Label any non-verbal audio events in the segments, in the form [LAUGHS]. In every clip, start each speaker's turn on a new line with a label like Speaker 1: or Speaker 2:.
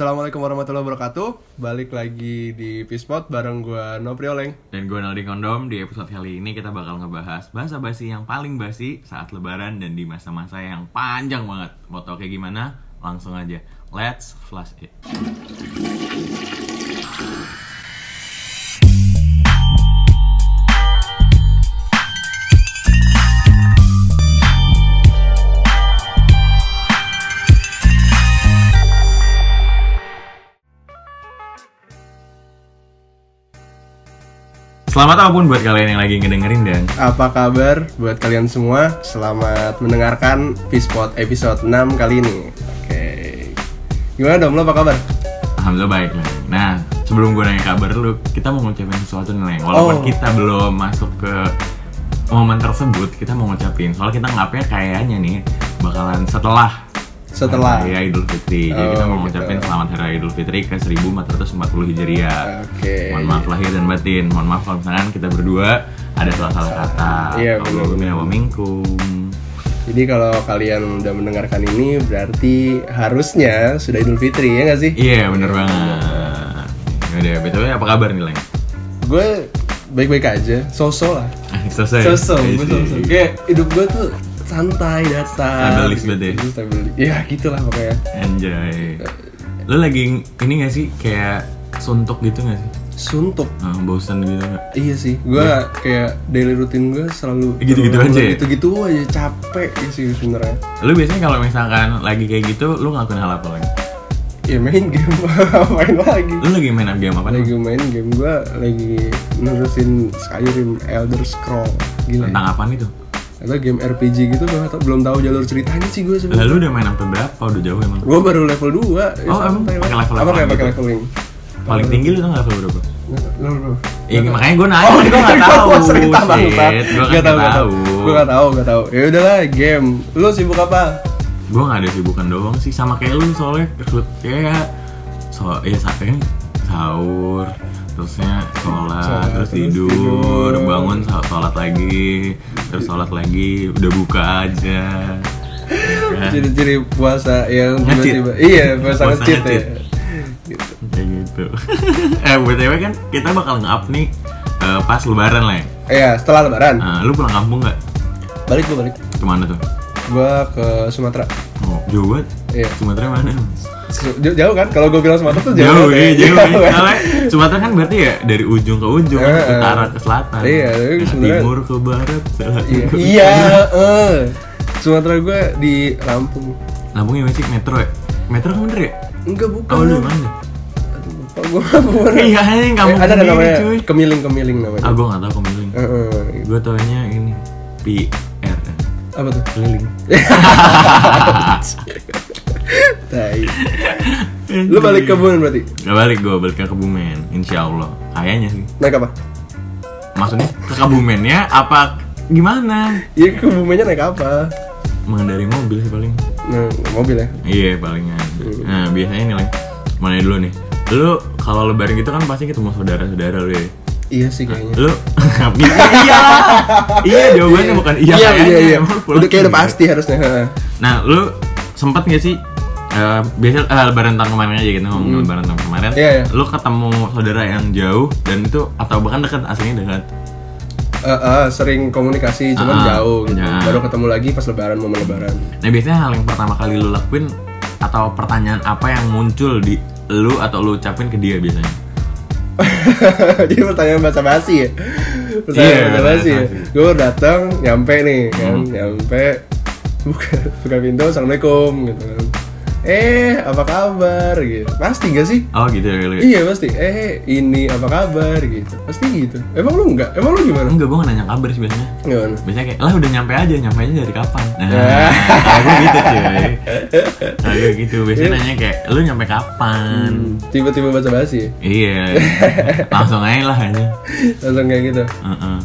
Speaker 1: Assalamualaikum warahmatullahi wabarakatuh. Balik lagi di Pispot bareng gua Nopri Oleng.
Speaker 2: Dan gue Naldi Kondom, di episode kali ini kita bakal ngebahas bahasa basi yang paling basi saat lebaran dan di masa-masa yang panjang banget. Mau tau kayak gimana? Langsung aja. Let's flash it. Selamat apapun buat kalian yang lagi ngedengerin dan
Speaker 1: Apa kabar buat kalian semua? Selamat mendengarkan Pispot episode 6 kali ini. Oke. Gimana dong lo apa kabar?
Speaker 2: alhamdulillah baik lah. Nah, sebelum gue nanya kabar lu, kita mau ngucapin sesuatu nih, Leng. Walaupun
Speaker 1: Oh.
Speaker 2: kita belum masuk ke momen tersebut, kita mau ngucapin. Soalnya kita ngapnya kayaknya nih bakalan setelah
Speaker 1: Setelah.
Speaker 2: Hari Raya Idul Fitri. Jadi
Speaker 1: Oh,
Speaker 2: kita mau
Speaker 1: gitu.
Speaker 2: ngucapin selamat Hari Raya Idul Fitri ke 1440 Hijriah.
Speaker 1: Oke.
Speaker 2: Mohon maaf lahir dan batin. Mohon maaf kalau misalkan kita berdua ada salah-salah kata.
Speaker 1: Iya, benar,
Speaker 2: Kalau
Speaker 1: benar.
Speaker 2: wa minkum.
Speaker 1: Jadi kalau kalian udah mendengarkan ini berarti harusnya sudah Idul Fitri ya nggak sih?
Speaker 2: Iya, bener banget. Yaudah, btw apa kabar nih, Leng? [LAUGHS]
Speaker 1: Gue baik-baik aja, so-so lah.
Speaker 2: Selesai.
Speaker 1: Sosok, gue
Speaker 2: Isi.
Speaker 1: sosok. Kayak hidup gue tuh santai, datar.
Speaker 2: iya. Stabilis banget ya?
Speaker 1: Gitu, stabilis. Ya gitulah pokoknya.
Speaker 2: Anjay. Lu lagi ini gak sih kayak suntuk gitu gak sih?
Speaker 1: Suntuk.
Speaker 2: Eh, bosan gitu gak?
Speaker 1: Iya sih, gue kayak daily routine gue selalu
Speaker 2: Eh, gitu-gitu
Speaker 1: terulang-
Speaker 2: aja ya?
Speaker 1: Gitu-gitu aja capek ya sih sebenarnya.
Speaker 2: Lu biasanya kalau misalkan lagi kayak gitu, lu ngelakuin hal apa lagi?
Speaker 1: Ya main game, [LAUGHS] main lagi.
Speaker 2: Lu lagi main game apa?
Speaker 1: Lagi main game gue lagi nerusin Skyrim Elder Scroll gila.
Speaker 2: Tentang
Speaker 1: Ya.
Speaker 2: apaan itu?
Speaker 1: Atau game RPG gitu gue tau, belum tahu jalur ceritanya sih gue sebenarnya.
Speaker 2: Lalu udah main sampai berapa? Udah jauh emang.
Speaker 1: Gue baru level 2
Speaker 2: Oh, emang pakai level-levelan
Speaker 1: Apa kayak pakai
Speaker 2: gitu?
Speaker 1: leveling?
Speaker 2: Paling tinggi lu tau level berapa?
Speaker 1: Level berapa?
Speaker 2: Iya, makanya gue nanya, gue gak tau.
Speaker 1: Gue cerita banget.
Speaker 2: Gue kan gak tau.
Speaker 1: Gue gak tau, gak tau. Ya udahlah, game. Lu sibuk apa?
Speaker 2: Gue gak ada sibukan doang sih, sama kayak lu soalnya kerut kayak so ya saatnya sahur, terusnya
Speaker 1: Sholat,
Speaker 2: sholat, terus
Speaker 1: terus
Speaker 2: tidur,
Speaker 1: tidur.
Speaker 2: bangun sho- sholat lagi, terus sholat lagi, udah buka aja. Ya kan?
Speaker 1: Ciri-ciri puasa yang
Speaker 2: Nge-cheat.
Speaker 1: tiba-tiba. Iya, puasa
Speaker 2: Puasa
Speaker 1: ngecit ya.
Speaker 2: nge-cheat. Kayak gitu. [LAUGHS] eh btw kan kita bakal nge-up nih eh, pas lebaran lah ya.
Speaker 1: Iya, setelah lebaran.
Speaker 2: Eh, lu pulang kampung nggak?
Speaker 1: Balik gue balik.
Speaker 2: Kemana tuh?
Speaker 1: Gue ke Sumatera.
Speaker 2: Oh, jauh banget.
Speaker 1: Iya.
Speaker 2: Sumatera mana?
Speaker 1: Su- Jauh, jauh kan? Kalau gue bilang Sumatera tuh jauh.
Speaker 2: Jauh,
Speaker 1: kan?
Speaker 2: iya,
Speaker 1: Jauh,
Speaker 2: jauh.
Speaker 1: kan?
Speaker 2: Soalnya Sumatera kan berarti ya dari ujung ke ujung,
Speaker 1: Eh, eh.
Speaker 2: utara ke selatan,
Speaker 1: Iya, tapi
Speaker 2: dari
Speaker 1: sebenarnya-
Speaker 2: timur ke barat, selatan
Speaker 1: Iya.
Speaker 2: ke
Speaker 1: Iya, eh. Sumatera gue di Lampung.
Speaker 2: Lampung ya masih metro ya? Metro kan bener ya?
Speaker 1: Enggak
Speaker 2: Oh,
Speaker 1: bukan.
Speaker 2: lu mana?
Speaker 1: Lupa gue Lampung.
Speaker 2: Iya, anjing, kamu
Speaker 1: Kan Eh, ada ada
Speaker 2: sendiri,
Speaker 1: namanya
Speaker 2: cuy.
Speaker 1: kemiling-kemiling namanya.
Speaker 2: Ah, gua nggak tahu keliling.
Speaker 1: Eh, eh.
Speaker 2: Gua taunya ini PRN
Speaker 1: Apa tuh?
Speaker 2: keliling.
Speaker 1: Tai. Lu balik ke Bunan berarti?
Speaker 2: Gak balik gua balik ke Kebumen, insya Allah. Kayaknya sih.
Speaker 1: Naik apa?
Speaker 2: Maksudnya ke Kebumennya apa? Gimana?
Speaker 1: Iya ke Bumennya naik apa?
Speaker 2: Mengendari mobil sih paling.
Speaker 1: Nah, mobil ya.
Speaker 2: Iya palingan. Nah biasanya nih, Leng. mana dulu nih? Lu kalau lebaran gitu kan pasti ketemu saudara-saudara lu ya.
Speaker 1: Iya sih kayaknya.
Speaker 2: Lu [LAUGHS] iya. iya jawabannya bukan iya.
Speaker 1: iya,
Speaker 2: kayaknya.
Speaker 1: iya, iya.
Speaker 2: Emang lu pulang
Speaker 1: Udah kayak udah
Speaker 2: sendiri.
Speaker 1: pasti harusnya. heeh.
Speaker 2: Nah, lu sempet gak sih eh, biasa eh, lebaran tahun kemarin aja gitu, ngomongin lebaran tahun kemarin.
Speaker 1: Iya, iya.
Speaker 2: Lu ketemu saudara yang jauh dan itu atau bahkan dekat aslinya dekat.
Speaker 1: Eh, eh, sering komunikasi cuman
Speaker 2: Ah,
Speaker 1: jauh gitu.
Speaker 2: iya.
Speaker 1: Baru ketemu lagi pas lebaran momen lebaran. [LAUGHS]
Speaker 2: Nah, biasanya hal yang pertama kali lu lakuin atau pertanyaan apa yang muncul di lu atau lu ucapin ke dia biasanya?
Speaker 1: Jadi pertanyaan bahasa basi ya. Pertanyaan
Speaker 2: Iya,
Speaker 1: bahasa basi ya.
Speaker 2: basa-basi. Hmm.
Speaker 1: Gue datang nyampe nih kan, nyampe buka buka pintu assalamualaikum gitu kan. Eh, apa kabar gitu. Pasti gak sih?
Speaker 2: Oh, gitu ya. lu ya?
Speaker 1: Iya pasti. Eh ini apa kabar gitu. Pasti gitu. Emang lu enggak? Emang lu gimana?
Speaker 2: Enggak, gue nggak nanya kabar sih biasanya.
Speaker 1: Gimana?
Speaker 2: Biasanya kayak, lah udah nyampe aja, nyampe aja dari kapan? Nah,
Speaker 1: Ah.
Speaker 2: aku gitu [LAUGHS] cuy. Aku gitu, biasanya nanya kayak, lu nyampe kapan?
Speaker 1: Tiba-tiba baca basi. ya?
Speaker 2: [LAUGHS] Iya, langsung aja lah aja.
Speaker 1: Langsung kayak gitu.
Speaker 2: Heeh.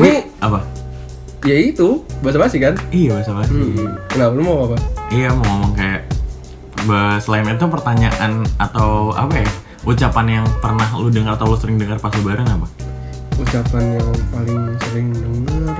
Speaker 1: Ini
Speaker 2: Apa?
Speaker 1: ya itu baca basi kan?
Speaker 2: Iya bahasa basi.
Speaker 1: Hmm. Kenapa lu mau apa?
Speaker 2: Iya mau ngomong kayak bah- selain itu pertanyaan atau apa ya ucapan yang pernah lu dengar atau lu sering dengar pas lebaran apa?
Speaker 1: Ucapan yang paling sering denger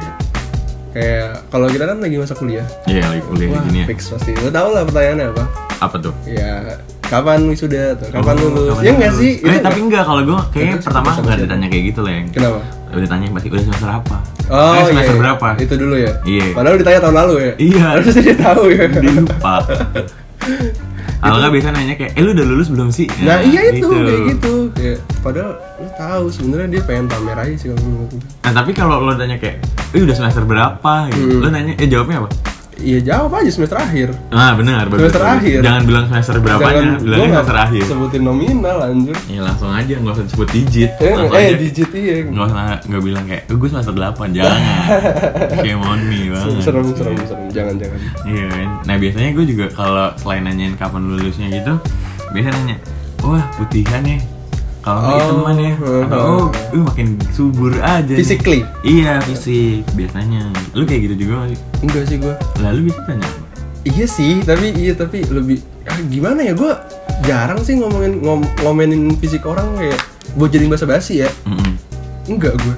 Speaker 1: kayak kalau kita kan lagi masa kuliah.
Speaker 2: Iya lagi kuliah
Speaker 1: Wah,
Speaker 2: gini ya.
Speaker 1: fix pasti. Lu tau lah pertanyaannya apa?
Speaker 2: Apa tuh?
Speaker 1: ya kapan wisuda atau kapan lulus
Speaker 2: Oh, Kapan
Speaker 1: ya nggak
Speaker 2: lulus?
Speaker 1: sih
Speaker 2: Eh, tapi enggak kalau gue kayaknya
Speaker 1: Itu
Speaker 2: pertama
Speaker 1: sama
Speaker 2: nggak
Speaker 1: aja.
Speaker 2: ditanya kayak gitu, Leng.
Speaker 1: kenapa
Speaker 2: Udah tanya pasti udah semester apa?
Speaker 1: oh
Speaker 2: Eh,
Speaker 1: iya,
Speaker 2: semester
Speaker 1: iya.
Speaker 2: berapa?
Speaker 1: itu dulu ya
Speaker 2: Iya.
Speaker 1: padahal ditanya tahun lalu ya
Speaker 2: Iya.
Speaker 1: [LAUGHS] harusnya dia tahu ya
Speaker 2: Dia lupa. Kalau nggak biasa nanya kayak, eh lu udah lulus belum sih?
Speaker 1: nah iya itu kayak gitu ya, padahal lu tahu sebenarnya dia pengen pamer aja sih kalau menurut gue.
Speaker 2: Nah tapi kalau lo tanya kayak, eh udah semester berapa?
Speaker 1: Hmm.
Speaker 2: Gitu. Lo nanya, eh jawabnya apa?
Speaker 1: iya jawab aja semester akhir
Speaker 2: Nah benar, bagus.
Speaker 1: Semester akhir.
Speaker 2: Jangan bilang semester berapanya,
Speaker 1: Jangan-
Speaker 2: bilang
Speaker 1: gua nggak
Speaker 2: semester akhir.
Speaker 1: sebutin nominal anjir
Speaker 2: Ya langsung aja, nggak usah disebut digit.
Speaker 1: eh,
Speaker 2: Langsung
Speaker 1: eh
Speaker 2: aja.
Speaker 1: digit iya
Speaker 2: nggak usah nggak bilang kayak "Eh, gue semester 8
Speaker 1: [LAUGHS]
Speaker 2: jangan shame on me banget
Speaker 1: serem serem serem jangan jangan
Speaker 2: iya kan nah biasanya gue juga kalau selain nanyain kapan lulusnya gitu biasanya nanya wah putihan ya kalau
Speaker 1: Oh,
Speaker 2: nggak hitaman ya atau
Speaker 1: heeh.
Speaker 2: oh lu makin subur aja nih."
Speaker 1: physically
Speaker 2: iya fisik biasanya lu kayak gitu juga nggak sih
Speaker 1: enggak sih gua
Speaker 2: lalu bisa tanya apa?
Speaker 1: Iya sih, tapi iya tapi lebih ah, gimana ya gue jarang sih ngomongin ngom, ngomenin fisik orang kayak buat jadi bahasa basi ya.
Speaker 2: Mm-mm.
Speaker 1: Enggak gue.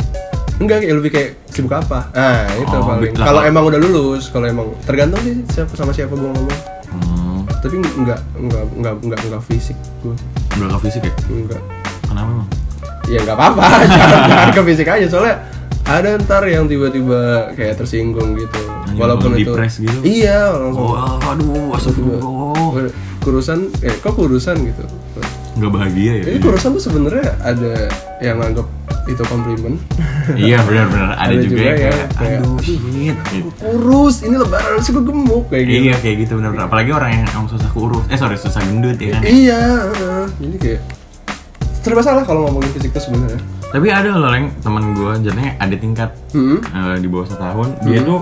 Speaker 1: Enggak kayak lebih kayak sibuk apa? Ah, itu
Speaker 2: Oh,
Speaker 1: paling.
Speaker 2: lah.
Speaker 1: Kalau emang udah lulus, kalau emang tergantung sih siapa sama siapa gue ngomong.
Speaker 2: Hmm,
Speaker 1: Tapi enggak enggak enggak enggak enggak fisik gue.
Speaker 2: berapa fisik ya?
Speaker 1: Enggak.
Speaker 2: Kenapa emang?
Speaker 1: Ya enggak
Speaker 2: [LAUGHS]
Speaker 1: apa-apa, jangan, jangan ke fisik aja soalnya ada ntar yang tiba-tiba kayak tersinggung gitu.
Speaker 2: Anjing,
Speaker 1: Walaupun
Speaker 2: bakal
Speaker 1: itu
Speaker 2: depres gitu.
Speaker 1: Iya, langsung
Speaker 2: Oh, aduh, astagfirullah.
Speaker 1: Ber- kurusan eh kok kurusan gitu
Speaker 2: Nggak bahagia ya?
Speaker 1: jadi kurusan tuh sebenarnya ada yang nganggap itu komplimen [LAUGHS]
Speaker 2: Iya, benar-benar ada,
Speaker 1: Ada
Speaker 2: juga,
Speaker 1: juga
Speaker 2: yang
Speaker 1: ya,
Speaker 2: kayak,
Speaker 1: kayak-
Speaker 2: aduh, shit. gitu.
Speaker 1: Gua kurus ini lebaran harusnya gue gemuk kayak gitu
Speaker 2: Iya kayak gitu benar-benar. Apalagi orang yang emang susah kurus, eh sorry susah gendut ya kan.
Speaker 1: iya heeh. jadi kayak serba salah kalau ngomongin fisik tuh sebenarnya
Speaker 2: Tapi ada loh yang teman gue jadinya ada tingkat
Speaker 1: hmm.
Speaker 2: eh, di bawah setahun dia tuh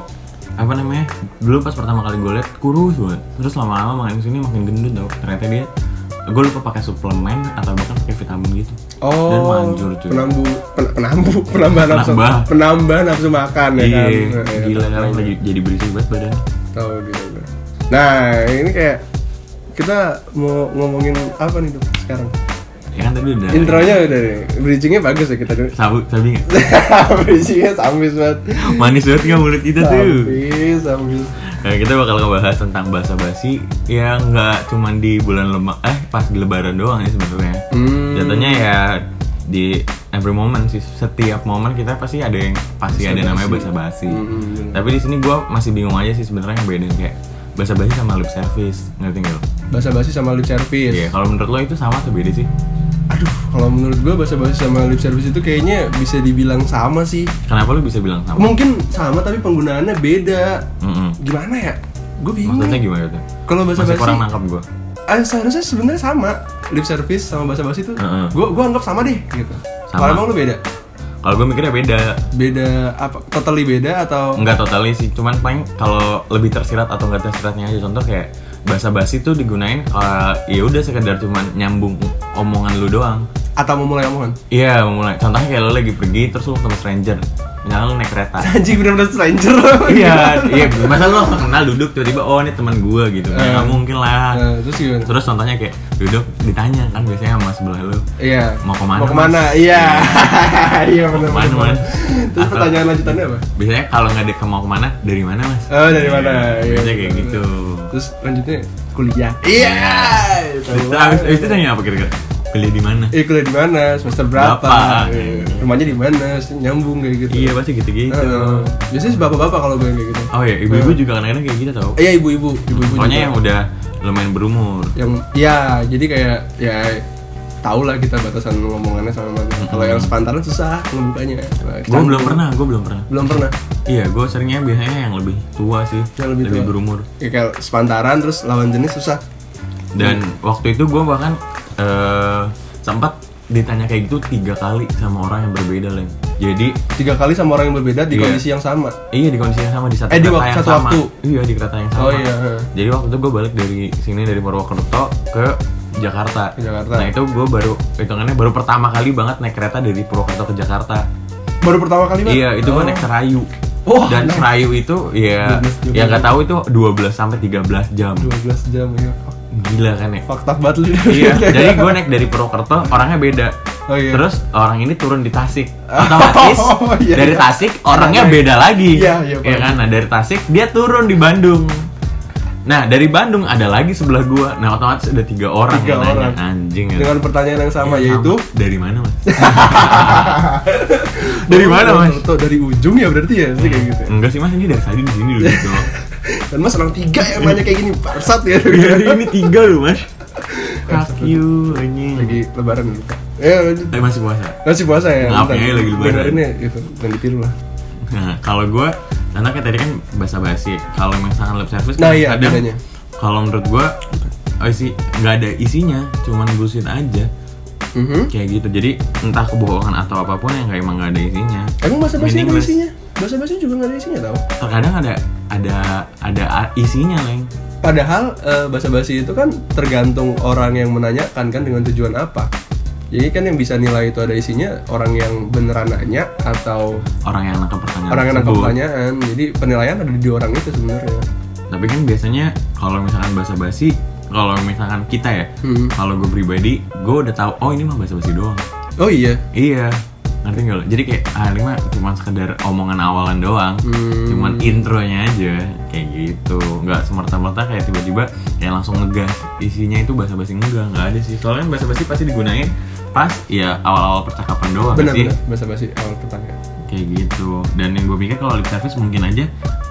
Speaker 2: apa namanya dulu pas pertama kali gue liat kurus banget terus lama-lama makin sini makin gendut tau ternyata dia gue lupa pakai suplemen atau bahkan pakai vitamin gitu dan
Speaker 1: oh
Speaker 2: manjur cuy
Speaker 1: penambu pen- penambu [LAUGHS] penambah nafsu
Speaker 2: Penambah.
Speaker 1: penambah nafsu makan ya
Speaker 2: iya
Speaker 1: kan
Speaker 2: gila kan lagi jadi berisik banget badan
Speaker 1: tahu dia gua. nah ini kayak kita mau ngomongin apa nih dok sekarang
Speaker 2: ya kan tadi udah
Speaker 1: intronya udah nih bridgingnya bagus ya kita dulu [LAUGHS]
Speaker 2: sabu sabi nggak
Speaker 1: Berisinya sambis banget
Speaker 2: manis banget nggak mulut kita Iya, tuh
Speaker 1: Sambis, sambis
Speaker 2: Nah, kita bakal ngebahas tentang bahasa basi yang nggak cuman di bulan lemak eh pas di lebaran doang ya sebenarnya.
Speaker 1: Hmm.
Speaker 2: Jatuhnya ya di every moment sih setiap momen kita pasti ada yang pasti ada namanya bahasa basi.
Speaker 1: Mm-mm.
Speaker 2: Tapi di sini gua masih bingung aja sih sebenarnya yang bedain kayak bahasa basi sama lip service ngerti nggak lo?
Speaker 1: Bahasa basi sama lip service
Speaker 2: Iya, kalau menurut lo itu sama atau beda sih?
Speaker 1: Aduh, kalau menurut gue bahasa basi sama lip service itu kayaknya bisa dibilang sama sih
Speaker 2: Kenapa lo bisa bilang sama?
Speaker 1: Mungkin sama tapi penggunaannya beda
Speaker 2: Mm-mm.
Speaker 1: Gimana ya? Gue bingung
Speaker 2: Maksudnya gimana tuh?
Speaker 1: Kalau bahasa
Speaker 2: Masih
Speaker 1: basi
Speaker 2: kurang nangkap gua.
Speaker 1: ah, seharusnya sebenarnya sama Lip service sama bahasa basi itu
Speaker 2: Mm-mm.
Speaker 1: Gue gua anggap sama deh gitu
Speaker 2: Sama.
Speaker 1: Kalau emang lu beda?
Speaker 2: Kalau gue mikirnya beda,
Speaker 1: Beda apa? Totally beda atau?
Speaker 2: Enggak totally sih, cuman paling kalau lebih tersirat atau enggak tersiratnya aja contoh kayak bahasa basi tuh digunain kalau ya udah sekedar cuman nyambung omongan lu doang.
Speaker 1: Atau memulai omongan?
Speaker 2: Iya, mulai. Contohnya kayak lo lagi pergi terus lu ketemu stranger. Misalnya lu naik
Speaker 1: [LAUGHS]
Speaker 2: kereta.
Speaker 1: [LAUGHS] Anjing bener-bener stranger
Speaker 2: iya, iya. Masa lu langsung kenal duduk tiba-tiba oh ini teman gua gitu. Ya, nggak mungkin
Speaker 1: [LAUGHS]
Speaker 2: lah.
Speaker 1: Nah, terus gimana?
Speaker 2: Terus contohnya kayak duduk ditanya kan biasanya sama sebelah lu.
Speaker 1: Iya.
Speaker 2: Mau kemana,
Speaker 1: Mau kemana?
Speaker 2: Mas?
Speaker 1: Iya. [LAUGHS] Iya
Speaker 2: Mau
Speaker 1: benar.
Speaker 2: kemana, Mas?
Speaker 1: Terus
Speaker 2: Atau-
Speaker 1: pertanyaan lanjutannya apa?
Speaker 2: Biasanya kalau nggak dek mau kemana, dari mana mas?
Speaker 1: Oh, dari mana? Iya,
Speaker 2: Biasanya kayak
Speaker 1: bener.
Speaker 2: gitu. Nah,
Speaker 1: Terus lanjutnya kuliah. Iya.
Speaker 2: Abis itu, abis, abis itu nanya apa kira-kira? Kuliah di mana?
Speaker 1: Eh kuliah di mana? Semester berapa?
Speaker 2: Berapa?
Speaker 1: Iya. Rumahnya di mana? Terus Nyambung kayak gitu.
Speaker 2: Iya pasti gitu-gitu.
Speaker 1: Heeh. Biasanya sih bapak-bapak kalau gue yang kayak gitu.
Speaker 2: Oh ya, ibu-ibu juga kadang-kadang kayak gitu tau.
Speaker 1: Eh, Iya ibu-ibu, ibu-ibu.
Speaker 2: Pokoknya
Speaker 1: juga.
Speaker 2: yang udah lumayan berumur.
Speaker 1: yang ya jadi kayak ya tau lah kita batasan ngomongannya sama mana. Kalau yang sepantaran susah ngebukanya. Nah,
Speaker 2: Gue belum
Speaker 1: canggung.
Speaker 2: pernah, gue belum pernah.
Speaker 1: Belum pernah.
Speaker 2: Iya, gue seringnya biasanya yang lebih tua sih,
Speaker 1: Yang lebih tua.
Speaker 2: berumur.
Speaker 1: ya kayak sepantaran terus lawan jenis susah
Speaker 2: Dan
Speaker 1: Hmm.
Speaker 2: waktu itu gue bahkan eh, sempat ditanya kayak gitu tiga kali sama orang yang berbeda, Leng. Jadi
Speaker 1: tiga kali sama orang yang berbeda di
Speaker 2: Iya.
Speaker 1: kondisi yang sama
Speaker 2: Iya di kondisi yang sama di satu
Speaker 1: Eh, di
Speaker 2: kereta
Speaker 1: waktu-
Speaker 2: yang
Speaker 1: satu
Speaker 2: sama.
Speaker 1: waktu.
Speaker 2: Iya di kereta yang sama.
Speaker 1: Oh, iya, heeh.
Speaker 2: Jadi waktu itu gue balik dari sini dari Purwokerto ke Jakarta.
Speaker 1: Ke Jakarta.
Speaker 2: Nah itu gue baru hitungannya baru pertama kali banget naik kereta dari Purwokerto ke Jakarta.
Speaker 1: baru pertama kali Bang?
Speaker 2: Iya itu gue naik Serayu.
Speaker 1: Oh. Wah,
Speaker 2: Dan
Speaker 1: naik.
Speaker 2: Serayu itu ya
Speaker 1: Goodness, goodness.
Speaker 2: yang nggak tahu itu 12 sampai 13 jam.
Speaker 1: 12 jam ya
Speaker 2: Gila kan ya.
Speaker 1: fakta banget lu [LAUGHS]
Speaker 2: iya. Jadi gue naik dari Purwokerto orangnya beda.
Speaker 1: Oh, iya.
Speaker 2: Terus orang ini turun di Tasik. Otomatis
Speaker 1: [LAUGHS] Oh, iya.
Speaker 2: dari Tasik orangnya beda lagi.
Speaker 1: Iya, iya,
Speaker 2: ya kan? Nah, dari Tasik dia turun di Bandung. Nah dari Bandung ada lagi sebelah gua. Nah otomatis ada tiga orang
Speaker 1: Tiga
Speaker 2: yang nanya,
Speaker 1: orang.
Speaker 2: anjing. ya.
Speaker 1: dengan pertanyaan yang sama
Speaker 2: Iya,
Speaker 1: yaitu
Speaker 2: sama. dari mana
Speaker 1: [LAUGHS]
Speaker 2: mas? dari
Speaker 1: Oh,
Speaker 2: mana mas? Hmm.
Speaker 1: Tuh, dari ujung ya berarti ya sih kayak gitu ya.
Speaker 2: Enggak sih mas ini dari tadi di sini
Speaker 1: [LAUGHS]
Speaker 2: dulu gitu.
Speaker 1: dan mas orang tiga yang banyak kayak gini barsat
Speaker 2: [LAUGHS]
Speaker 1: ya
Speaker 2: Dari ini tiga loh mas. Fuck you anjing.
Speaker 1: Iya. lagi lebaran gitu ya lanjut.
Speaker 2: Tapi masih puasa.
Speaker 1: masih puasa ya
Speaker 2: Maaf ya, lagi lebaran.
Speaker 1: ini gitu dan ditiru lah
Speaker 2: Nah kalau gua anaknya tadi kan basa-basi. Kalau misalkan lip service
Speaker 1: nah
Speaker 2: kan
Speaker 1: iya
Speaker 2: kadang
Speaker 1: bedanya
Speaker 2: kalau menurut gua oh isi nggak ada isinya cuman bullshit aja
Speaker 1: Mhm.
Speaker 2: kayak gitu jadi entah kebohongan atau apapun yang kayak emang nggak ada isinya
Speaker 1: emang bahasa basi ada
Speaker 2: Meaningless.
Speaker 1: isinya bahasa basi juga nggak ada isinya tau
Speaker 2: terkadang ada ada ada a- isinya leng
Speaker 1: Padahal bahasa basi itu kan tergantung orang yang menanyakan kan dengan tujuan apa. Jadi kan yang bisa nilai itu ada isinya orang yang beneran nanya atau
Speaker 2: orang yang nangkap pertanyaan
Speaker 1: orang yang nangkap
Speaker 2: Nah, tersebut.
Speaker 1: pertanyaan. Jadi penilaian ada di orang itu sebenarnya.
Speaker 2: tapi kan biasanya kalau misalkan bahasa basi kalau misalkan kita ya
Speaker 1: Hmm.
Speaker 2: kalau gue pribadi gue udah tahu oh ini mah bahasa basi doang
Speaker 1: Oh iya.
Speaker 2: iya ngerti nggak lo jadi kayak ah ini mah cuma sekedar omongan awalan doang
Speaker 1: Hmm.
Speaker 2: cuman intronya aja kayak gitu nggak semerta-merta kayak tiba-tiba kayak langsung ngegas isinya itu bahasa basi enggak nggak ada sih soalnya bahasa basi pasti digunain pas ya awal-awal percakapan doang nggak sih
Speaker 1: Benar-benar bahasa basi awal pertanyaan.
Speaker 2: kayak gitu dan yang gue pikir kalau lip service mungkin aja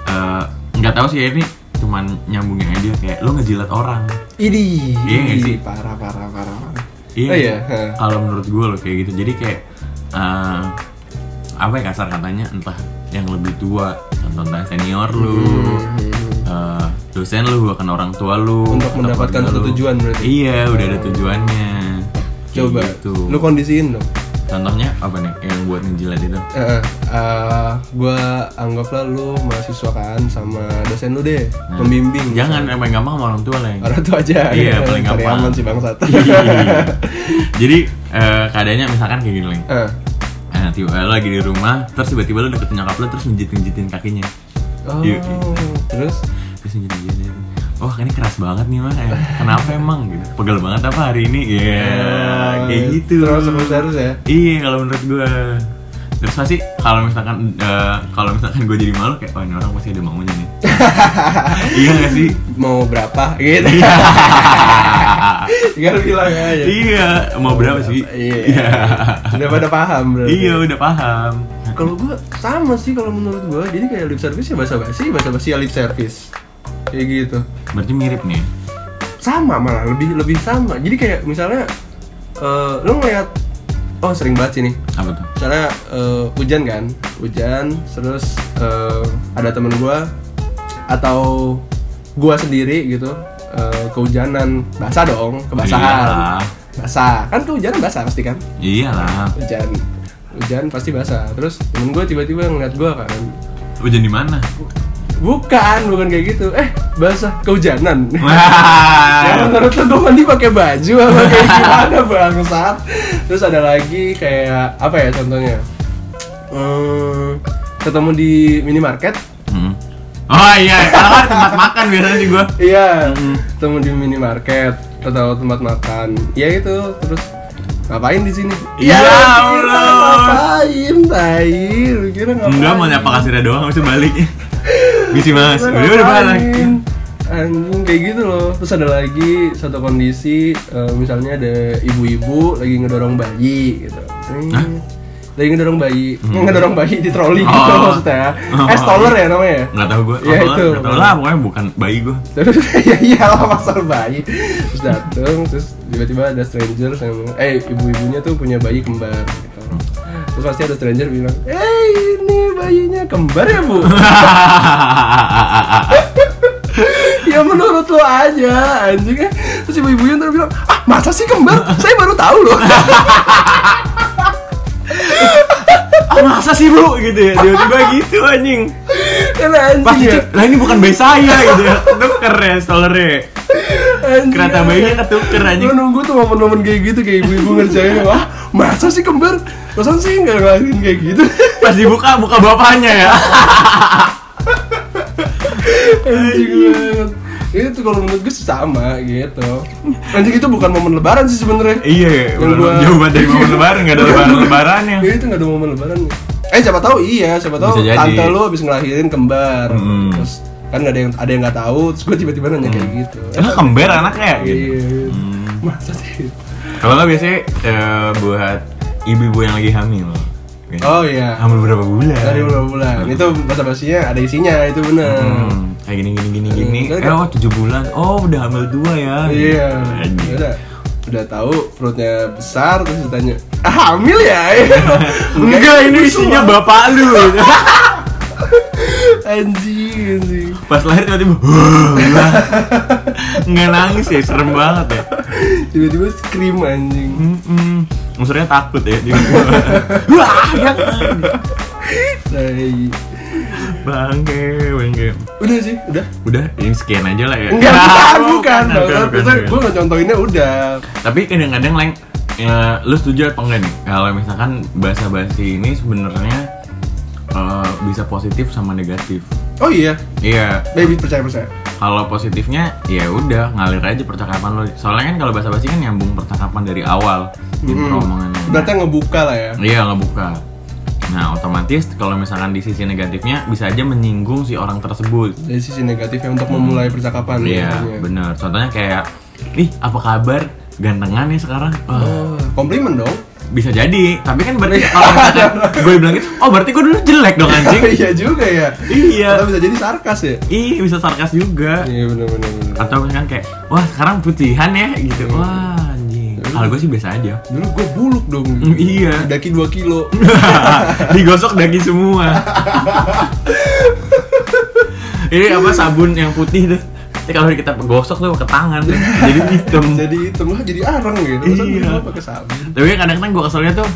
Speaker 2: eh, nggak tahu sih ya ini cuman nyambungin aja kayak lo ngejilat orang
Speaker 1: Idi.
Speaker 2: Iya nggak sih?
Speaker 1: Idi, Parah parah parah. parah.
Speaker 2: Iya.
Speaker 1: Oh iya, ha.
Speaker 2: Kalau menurut gue loh kayak gitu. Jadi kayak eh, apa ya kasar katanya entah yang lebih tua, contoh entah senior lu, eh, dosen lu bahkan orang tua lu
Speaker 1: Hmm. Untuk
Speaker 2: atau
Speaker 1: mendapatkan
Speaker 2: keluarga
Speaker 1: satu
Speaker 2: lu.
Speaker 1: tujuan berarti?
Speaker 2: Iya, udah ada tujuannya. Kayak
Speaker 1: Coba.
Speaker 2: gitu.
Speaker 1: Lu kondisiin dong.
Speaker 2: Contohnya apa nih yang buat ngejilat itu?
Speaker 1: Heeh. Eh, gua anggaplah lu mahasiswa kan sama dosen lu deh,
Speaker 2: Nah,
Speaker 1: pembimbing.
Speaker 2: Jangan yang paling gampang sama orang tua lah. yang- [LAUGHS]
Speaker 1: orang tua aja
Speaker 2: Iya, paling
Speaker 1: Cari
Speaker 2: gampang. Iya,
Speaker 1: aman sih bangsat
Speaker 2: Jadi eh, keadaannya misalkan kayak gini, Leng.
Speaker 1: [LAUGHS] Eh.
Speaker 2: Nah, tiba lo lagi di rumah, terus tiba-tiba lo deketin nyokap lo, terus menjit-menjitin kakinya.
Speaker 1: oh,
Speaker 2: Iya.
Speaker 1: terus
Speaker 2: terus dia gini gini wah ini keras banget nih mah Eh, kenapa emang gitu pegel banget apa hari ini ya kayak gitu
Speaker 1: Eh, terus terus terus ya
Speaker 2: iya kalau menurut gue terus pasti kalau misalkan eh, kalau misalkan gue jadi malu kayak oh ini orang pasti ada maunya
Speaker 1: [LAUGHS]
Speaker 2: nih iya gak sih Iya.
Speaker 1: mau berapa gitu [LAUGHS] tinggal bilang aja
Speaker 2: iya mau berapa sih
Speaker 1: iya udah pada paham berarti
Speaker 2: iya udah paham
Speaker 1: kalau gua sama sih kalau menurut gua jadi kayak lip service ya bahasa basi bahasa basi ya lip service kayak gitu
Speaker 2: berarti mirip nih
Speaker 1: sama malah lebih lebih sama jadi kayak misalnya eh, lu ngeliat oh sering banget sih nih
Speaker 2: apa tuh
Speaker 1: misalnya eh, hujan kan hujan terus eh, ada temen gua atau gua sendiri gitu eh, kehujanan basah dong kebasahan
Speaker 2: Iyalah.
Speaker 1: basah kan kehujanan basah pasti kan
Speaker 2: Ya iyalah
Speaker 1: hujan hujan pasti basah terus temen gua tiba-tiba ngeliat gua kan
Speaker 2: hujan di
Speaker 1: [LAUGHS]
Speaker 2: mana
Speaker 1: bukan bukan kayak gitu eh basah kehujanan [LAUGHS] Ya
Speaker 2: wah
Speaker 1: menurut lu gue mandi pakai baju apa kayak gimana bangsat Terus ada lagi kayak apa ya contohnya hmm, Ketemu di minimarket
Speaker 2: Hmm. oh iya karena kan tempat makan biasanya sih gue
Speaker 1: Iya Ketemu di minimarket atau tempat makan Ya itu terus ngapain di sini?
Speaker 2: Ya
Speaker 1: lu kira
Speaker 2: Allah.
Speaker 1: Ngapain, tai? Lu kira ngapain?
Speaker 2: Enggak mau nyapa kasirnya doang habis itu
Speaker 1: [LAUGHS]
Speaker 2: balik. Misi Mas.
Speaker 1: Gua
Speaker 2: Udah udah balik.
Speaker 1: ngapain? Anjing kayak gitu loh. Terus ada lagi satu kondisi eh, misalnya ada ibu-ibu lagi ngedorong bayi gitu. Eh,
Speaker 2: Hah? Hmm.
Speaker 1: Lagi ngedorong bayi, ngedorong bayi di troli
Speaker 2: Oh. Nah.
Speaker 1: gitu maksudnya.
Speaker 2: Oh.
Speaker 1: Eh stroller ya namanya.
Speaker 2: Enggak tahu gua.
Speaker 1: Ya,
Speaker 2: Apa lah,
Speaker 1: itu.
Speaker 2: nggak tahu lah pokoknya bukan bayi gua. [LAUGHS]
Speaker 1: Terus [LAUGHS] ya iyalah pasar bayi. Terus dateng, terus tiba-tiba ada stranger yang eh ibu-ibunya tuh punya bayi kembar gitu. Terus pasti ada stranger bilang, "Eh, ini bayinya kembar ya, Bu?" ya menurut lo aja anjingnya terus ibu ibunya ntar bilang ah masa sih kembar saya baru tahu
Speaker 2: [LAUGHS]
Speaker 1: loh
Speaker 2: ah, masa sih, Bu? Gitu ya. Tiba-tiba gitu anjing.
Speaker 1: kan
Speaker 2: Pas
Speaker 1: anjing ya
Speaker 2: dicek, lah ini bukan bayi saya gitu ya. Tuker ya stollernya.
Speaker 1: anjing
Speaker 2: Kereta
Speaker 1: ya.
Speaker 2: bayinya ketuker anjing.
Speaker 1: Gua nunggu tuh momen-momen kayak gitu kayak ibu ibu ngerjain wah masa sih kembar masa sih nggak ngelakuin kayak gitu [LAUGHS]
Speaker 2: Pas dibuka buka bapaknya ya.
Speaker 1: anjing banget itu kalau menurut gue sama gitu anjing itu bukan momen lebaran sih sebenarnya
Speaker 2: Iya,
Speaker 1: Yang Iya. gua-
Speaker 2: udah jauh banget dari momen lebaran, enggak ada lebaran-lebarannya.
Speaker 1: Ya itu nggak ada momen lebaran nih. Eh siapa tahu iya, siapa tahu
Speaker 2: Bisa jadi.
Speaker 1: tante lu habis ngelahirin kembar.
Speaker 2: Mm.
Speaker 1: Terus kan ada yang ada yang nggak tahu terus gue tiba-tiba nanya kayak gitu
Speaker 2: Karena kember anaknya gitu.
Speaker 1: iya
Speaker 2: Hmm.
Speaker 1: masa sih
Speaker 2: Kalau nggak biasanya eh, buat ibu-ibu yang lagi hamil. Gitu.
Speaker 1: oh iya
Speaker 2: Hamil berapa bulan?
Speaker 1: dari beberapa bulan itu bahasa basinya ada isinya itu bener
Speaker 2: Hmm, kayak gini gini gini gini.
Speaker 1: Hmm,
Speaker 2: Eh, wah 7 bulan. Oh, udah hamil dua ya.
Speaker 1: iya
Speaker 2: Anjing.
Speaker 1: udah udah tahu perutnya besar terus ditanya ah, hamil ya
Speaker 2: [LAUGHS] Enggak,
Speaker 1: Iya.
Speaker 2: ini isinya bapak lu. [LAUGHS]
Speaker 1: anjing anjing
Speaker 2: Pas lahir tiba-tiba nggak nangis ya, serem banget ya.
Speaker 1: tiba-tiba scream anjing
Speaker 2: Mm-mm. Maksudnya takut ya. tiba-tiba. [LAUGHS] Wah, ya. jangan.
Speaker 1: Tai.
Speaker 2: Bangke, bangke.
Speaker 1: udah sih udah
Speaker 2: Udah, ini sekian aja lah ya. [LAUGHS]
Speaker 1: Enggak,
Speaker 2: Ah,
Speaker 1: bukan, bukan,
Speaker 2: bukan,
Speaker 1: bukan,
Speaker 2: bukan.
Speaker 1: Gue ngecontohinnya udah
Speaker 2: Tapi kadang-kadang leng, ya, lu setuju apa enggak nih? Kalau misalkan bahasa-bahasa ini sebenarnya eh, bisa positif sama negatif.
Speaker 1: Oh iya,
Speaker 2: Iya,
Speaker 1: baby percaya-percaya
Speaker 2: kalau positifnya ya udah ngalir aja percakapan lo. Soalnya kan kalau bahasa-bahasa kan nyambung percakapan dari awal, intro omongannya.
Speaker 1: Hmm. Berarti yang ngebuka lah ya
Speaker 2: Iya ngebuka. Nah otomatis kalau misalkan di sisi negatifnya bisa aja menyinggung si orang tersebut.
Speaker 1: Dari sisi negatifnya untuk memulai percakapan
Speaker 2: Iya
Speaker 1: biasanya.
Speaker 2: bener. Contohnya kayak, ih apa kabar? Gantengan nih sekarang. Wah,
Speaker 1: Oh, komplimen dong
Speaker 2: bisa jadi. Tapi kan berarti kalau misalkan gue bilang gitu, oh berarti gue dulu jelek dong anjing.
Speaker 1: [LAUGHS] Iya juga ya
Speaker 2: iya.
Speaker 1: Atau bisa jadi sarkas ya
Speaker 2: Ih bisa sarkas juga.
Speaker 1: Iya bener-bener
Speaker 2: Atau misalkan kayak, wah sekarang putihan ya gitu. Wah anjing. Kalau gue sih biasa aja. [LAUGHS]
Speaker 1: Dulu gue buluk dong
Speaker 2: Mm, iya.
Speaker 1: Daki 2
Speaker 2: [LAUGHS]
Speaker 1: kilo
Speaker 2: Digosok daging semua. Ini apa sabun yang putih tuh? Nanti kalau kita gosok tuh ke tangan tuh, jadi hitam.
Speaker 1: Jadi hitam lah jadi arang gitu Masa
Speaker 2: Iya.
Speaker 1: dulu pakai sabun
Speaker 2: Tapi kadang-kadang gue keselnya tuh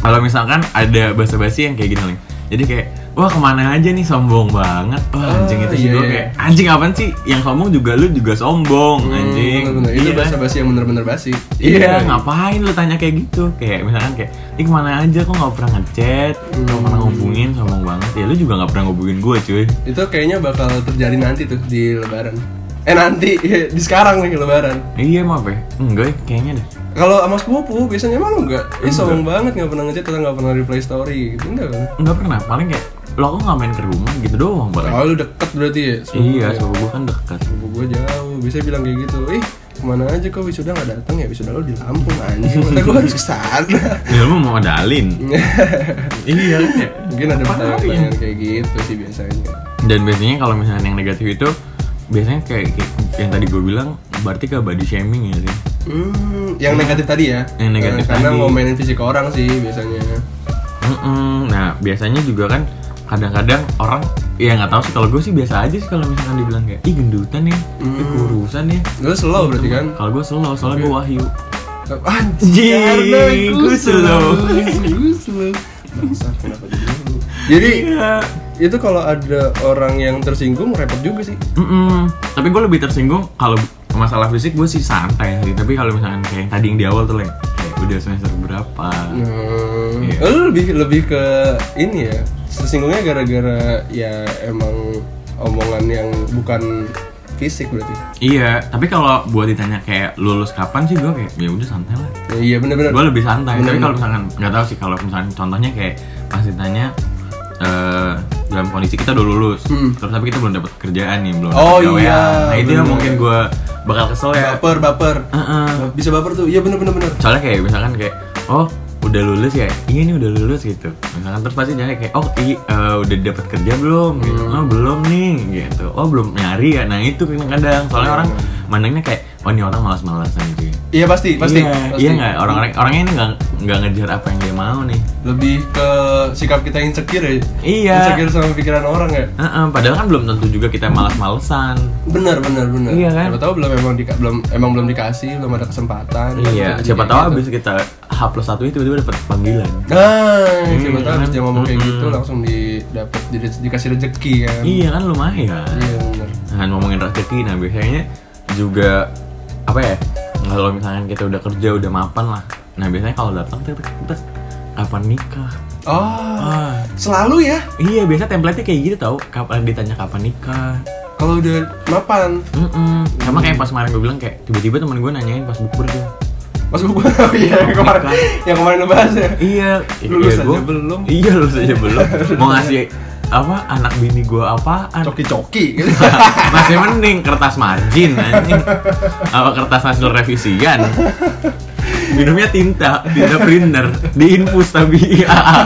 Speaker 2: kalau misalkan ada basa-basi yang kayak gini Leng. Jadi kayak wah kemana aja nih sombong banget. Wah
Speaker 1: Ah,
Speaker 2: anjing itu sih
Speaker 1: iya,
Speaker 2: gue
Speaker 1: iya.
Speaker 2: kayak anjing apaan sih? Yang sombong juga lu juga sombong
Speaker 1: Hmm,
Speaker 2: anjing.
Speaker 1: bener-bener. Itu
Speaker 2: Iya.
Speaker 1: basa-basi yang bener-bener basi
Speaker 2: Iya, ngapain lu tanya kayak gitu? Kayak misalkan kayak, ini kemana aja kok nggak pernah ngechat, nggak
Speaker 1: Hmm.
Speaker 2: pernah ngubungin, sombong banget. Ya lu juga nggak pernah ngubungin gue cuy.
Speaker 1: itu kayaknya bakal terjadi nanti tuh di lebaran eh nanti [LAUGHS] di sekarang nih lebaran
Speaker 2: Iya maaf ya, enggak ya, kayaknya deh.
Speaker 1: kalau sama sepupu biasanya emang lu enggak eh sombong banget nggak pernah ngechat atau nggak pernah reply story gitu enggak kan
Speaker 2: Enggak pernah, paling kayak lo kok nggak main ke rumah gitu doang paling.
Speaker 1: kalau lu deket berarti ya sepupu
Speaker 2: Iya,
Speaker 1: ya?
Speaker 2: sepupu gue kan dekat.
Speaker 1: sepupu gue jauh biasanya bilang kayak gitu ih kemana aja kok wisuda nggak datang ya wisuda lo di Lampung anjing masa gue harus ke sana [LAUGHS]
Speaker 2: Ya lu mau modalin. iya. kayak-
Speaker 1: mungkin ada pertanyaan-pertanyaan kayak gitu sih biasanya
Speaker 2: Dan biasanya kalau misalnya yang negatif itu biasanya kayak, kayak yang tadi gue bilang berarti ke body shaming ya sih.
Speaker 1: Hmm, yang negatif tadi ya?
Speaker 2: Yang negatif
Speaker 1: Eh, Karena
Speaker 2: tadi.
Speaker 1: mau mainin fisik orang sih biasanya
Speaker 2: Mm-mm. Nah biasanya juga kan kadang-kadang orang ya nggak tahu sih kalau gue sih biasa aja sih kalau misalkan dibilang kayak ih gendutan ya, ih kurusan ya.
Speaker 1: Lu slow berarti kan?
Speaker 2: Kalau gue slow, soalnya gue wahyu.
Speaker 1: Anjing,
Speaker 2: Jing,
Speaker 1: gue slow.
Speaker 2: slow.
Speaker 1: Gue slow. Bangsat, kenapa jadi lu? Jadi
Speaker 2: Iya.
Speaker 1: itu kalau ada orang yang tersinggung repot juga sih.
Speaker 2: Mm-mm. Tapi gue lebih tersinggung kalau masalah fisik gue sih santai sih. Tapi kalau misalkan kayak yang tadi yang di awal tuh Leng, kayak udah semester berapa?
Speaker 1: Hmm,
Speaker 2: Iya.
Speaker 1: lu lebih lebih ke ini ya. Tersinggungnya gara-gara ya emang omongan yang bukan fisik berarti.
Speaker 2: Iya. Tapi kalau buat ditanya kayak lulus kapan sih gue kayak ya udah santai lah.
Speaker 1: Ya, Iya bener-bener.
Speaker 2: Gue lebih santai.
Speaker 1: Bener,
Speaker 2: Tapi kalau
Speaker 1: bener.
Speaker 2: misalkan nggak tahu sih kalau misalkan contohnya kayak pas ditanya eh, dalam kondisi kita udah lulus,
Speaker 1: Hmm.
Speaker 2: terus tapi kita belum dapat kerjaan nih, belum
Speaker 1: Oh,
Speaker 2: dapet
Speaker 1: iya,
Speaker 2: Nah itu yang
Speaker 1: bener. Iya.
Speaker 2: mungkin gue bakal kesel ya.
Speaker 1: Baper, baper.
Speaker 2: Heeh.
Speaker 1: Bisa baper tuh. Iya bener-bener. bener.
Speaker 2: soalnya kayak misalkan kayak oh udah lulus ya iya nih udah lulus gitu misalkan terus pasti jadi kayak oh i, eh, udah dapat kerja belum gitu
Speaker 1: Hmm.
Speaker 2: oh belum nih gitu oh belum nyari ya nah itu kadang-kadang soalnya orang mandangnya kayak oh ini orang malas-malasan gitu
Speaker 1: Iya pasti, pasti.
Speaker 2: iya,
Speaker 1: pasti.
Speaker 2: iya nggak orang orangnya ini nggak nggak ngejar apa yang dia mau nih
Speaker 1: Lebih ke sikap kita insecure ya.
Speaker 2: iya
Speaker 1: Insecure sama pikiran orang ya.
Speaker 2: Heeh, padahal kan belum tentu juga kita malas-malesan
Speaker 1: benar benar benar
Speaker 2: Iya kan?
Speaker 1: siapa tahu belum emang di, belum emang belum dikasih belum ada kesempatan
Speaker 2: iya
Speaker 1: Jadi
Speaker 2: siapa
Speaker 1: kayak
Speaker 2: tahu
Speaker 1: gitu.
Speaker 2: abis kita H plus satu itu tiba-tiba dapat panggilan
Speaker 1: nah siapa tahu abis
Speaker 2: kan?
Speaker 1: dia ngomong kayak
Speaker 2: Mm-mm.
Speaker 1: gitu langsung didapat di- dikasih rezeki kan
Speaker 2: iya kan lumayan
Speaker 1: iya benar
Speaker 2: Nah, ngomongin rezeki, nah biasanya juga apa ya? Kalau misalnya kita udah kerja, udah mapan lah. Nah, biasanya kalau datang tek, tek, tek, kapan nikah?
Speaker 1: oh
Speaker 2: Ah,
Speaker 1: selalu ya
Speaker 2: iya, biasa template-nya kayak gitu tau. Kapan ditanya kapan nikah?
Speaker 1: kalau udah mapan
Speaker 2: Mm-mm. Sama kayak
Speaker 1: Hmm.
Speaker 2: pas kemarin gue bilang kayak tiba-tiba temen gue nanyain pas bukber tuh.
Speaker 1: mas buku oh, [LAUGHS] iya yang kemarin yang kemarin lu bahas ya
Speaker 2: Iya,
Speaker 1: Lulus
Speaker 2: iya,
Speaker 1: aja belum.
Speaker 2: Iya, lulus aja belum. Mau ngasih apa anak bini gua apaan
Speaker 1: coki-coki gitu.
Speaker 2: [LAUGHS] masih mending kertas margin anjing apa kertas hasil revisian minumnya tinta tinta printer diinfus tapi [LAUGHS] IAA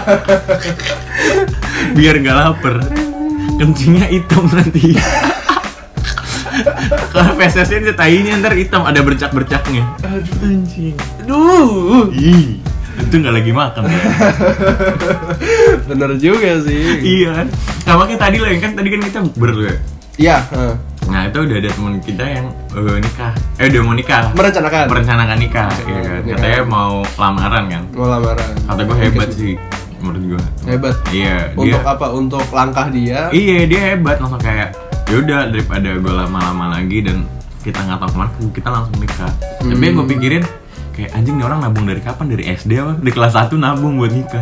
Speaker 2: biar nggak lapar kencingnya hitam nanti kalau fesesnya dia tainya ntar hitam ada bercak-bercaknya
Speaker 1: Aduh.
Speaker 2: anjing
Speaker 1: Aduh.
Speaker 2: Ih, itu nggak lagi makan ya
Speaker 1: Bener juga sih.
Speaker 2: iya kan sama kayak tadi lah kan tadi kan kita berdua
Speaker 1: Iya. heeh.
Speaker 2: Nah itu udah ada teman kita yang eh, nikah, eh udah mau nikah,
Speaker 1: Merencanakan.
Speaker 2: merencanakan nikah, ya kan?
Speaker 1: Nikah.
Speaker 2: katanya mau lamaran kan,
Speaker 1: Mau lamaran.
Speaker 2: kata gue hebat sih menurut gue.
Speaker 1: Hebat.
Speaker 2: Iya dia,
Speaker 1: Untuk apa? Untuk langkah dia.
Speaker 2: iya dia hebat langsung kayak yaudah daripada gue lama-lama lagi dan kita nggak tahu kemana, kita langsung nikah. Tapi
Speaker 1: Hmm.
Speaker 2: yang gue pikirin kayak anjing nih orang nabung dari kapan dari SD apa dari kelas 1 nabung buat nikah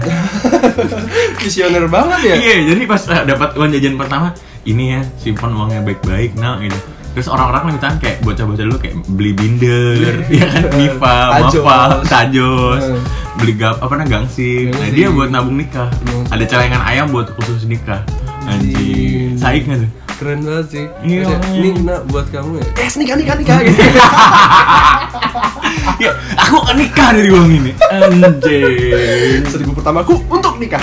Speaker 1: Visioner banget ya.
Speaker 2: iya jadi pas uh, dapat uang jajan pertama ini ya simpan uangnya baik-baik nah ini terus orang-orang lebih tahan kayak bocah-bocah dulu kayak beli [LAUGHS] binder ya kan Mifa,
Speaker 1: Tajos.
Speaker 2: [LAUGHS] Mafa, Tajos
Speaker 1: Hmm.
Speaker 2: beli gap apa nah gangsing nah
Speaker 1: Gangsing.
Speaker 2: dia buat nabung nikah
Speaker 1: Nabung.
Speaker 2: ada celengan ayam buat khusus nikah
Speaker 1: Anjing.
Speaker 2: anjing saik nggak tuh
Speaker 1: Keren banget sih.
Speaker 2: Iya. Eh, ah,
Speaker 1: Terus ya, Ini nak buat kamu ya. Yes, nikah nikah [LAUGHS] nikah. Gitu.
Speaker 2: ya aku akan nikah dari uang ini anjing
Speaker 1: Seribu pertamaku untuk nikah.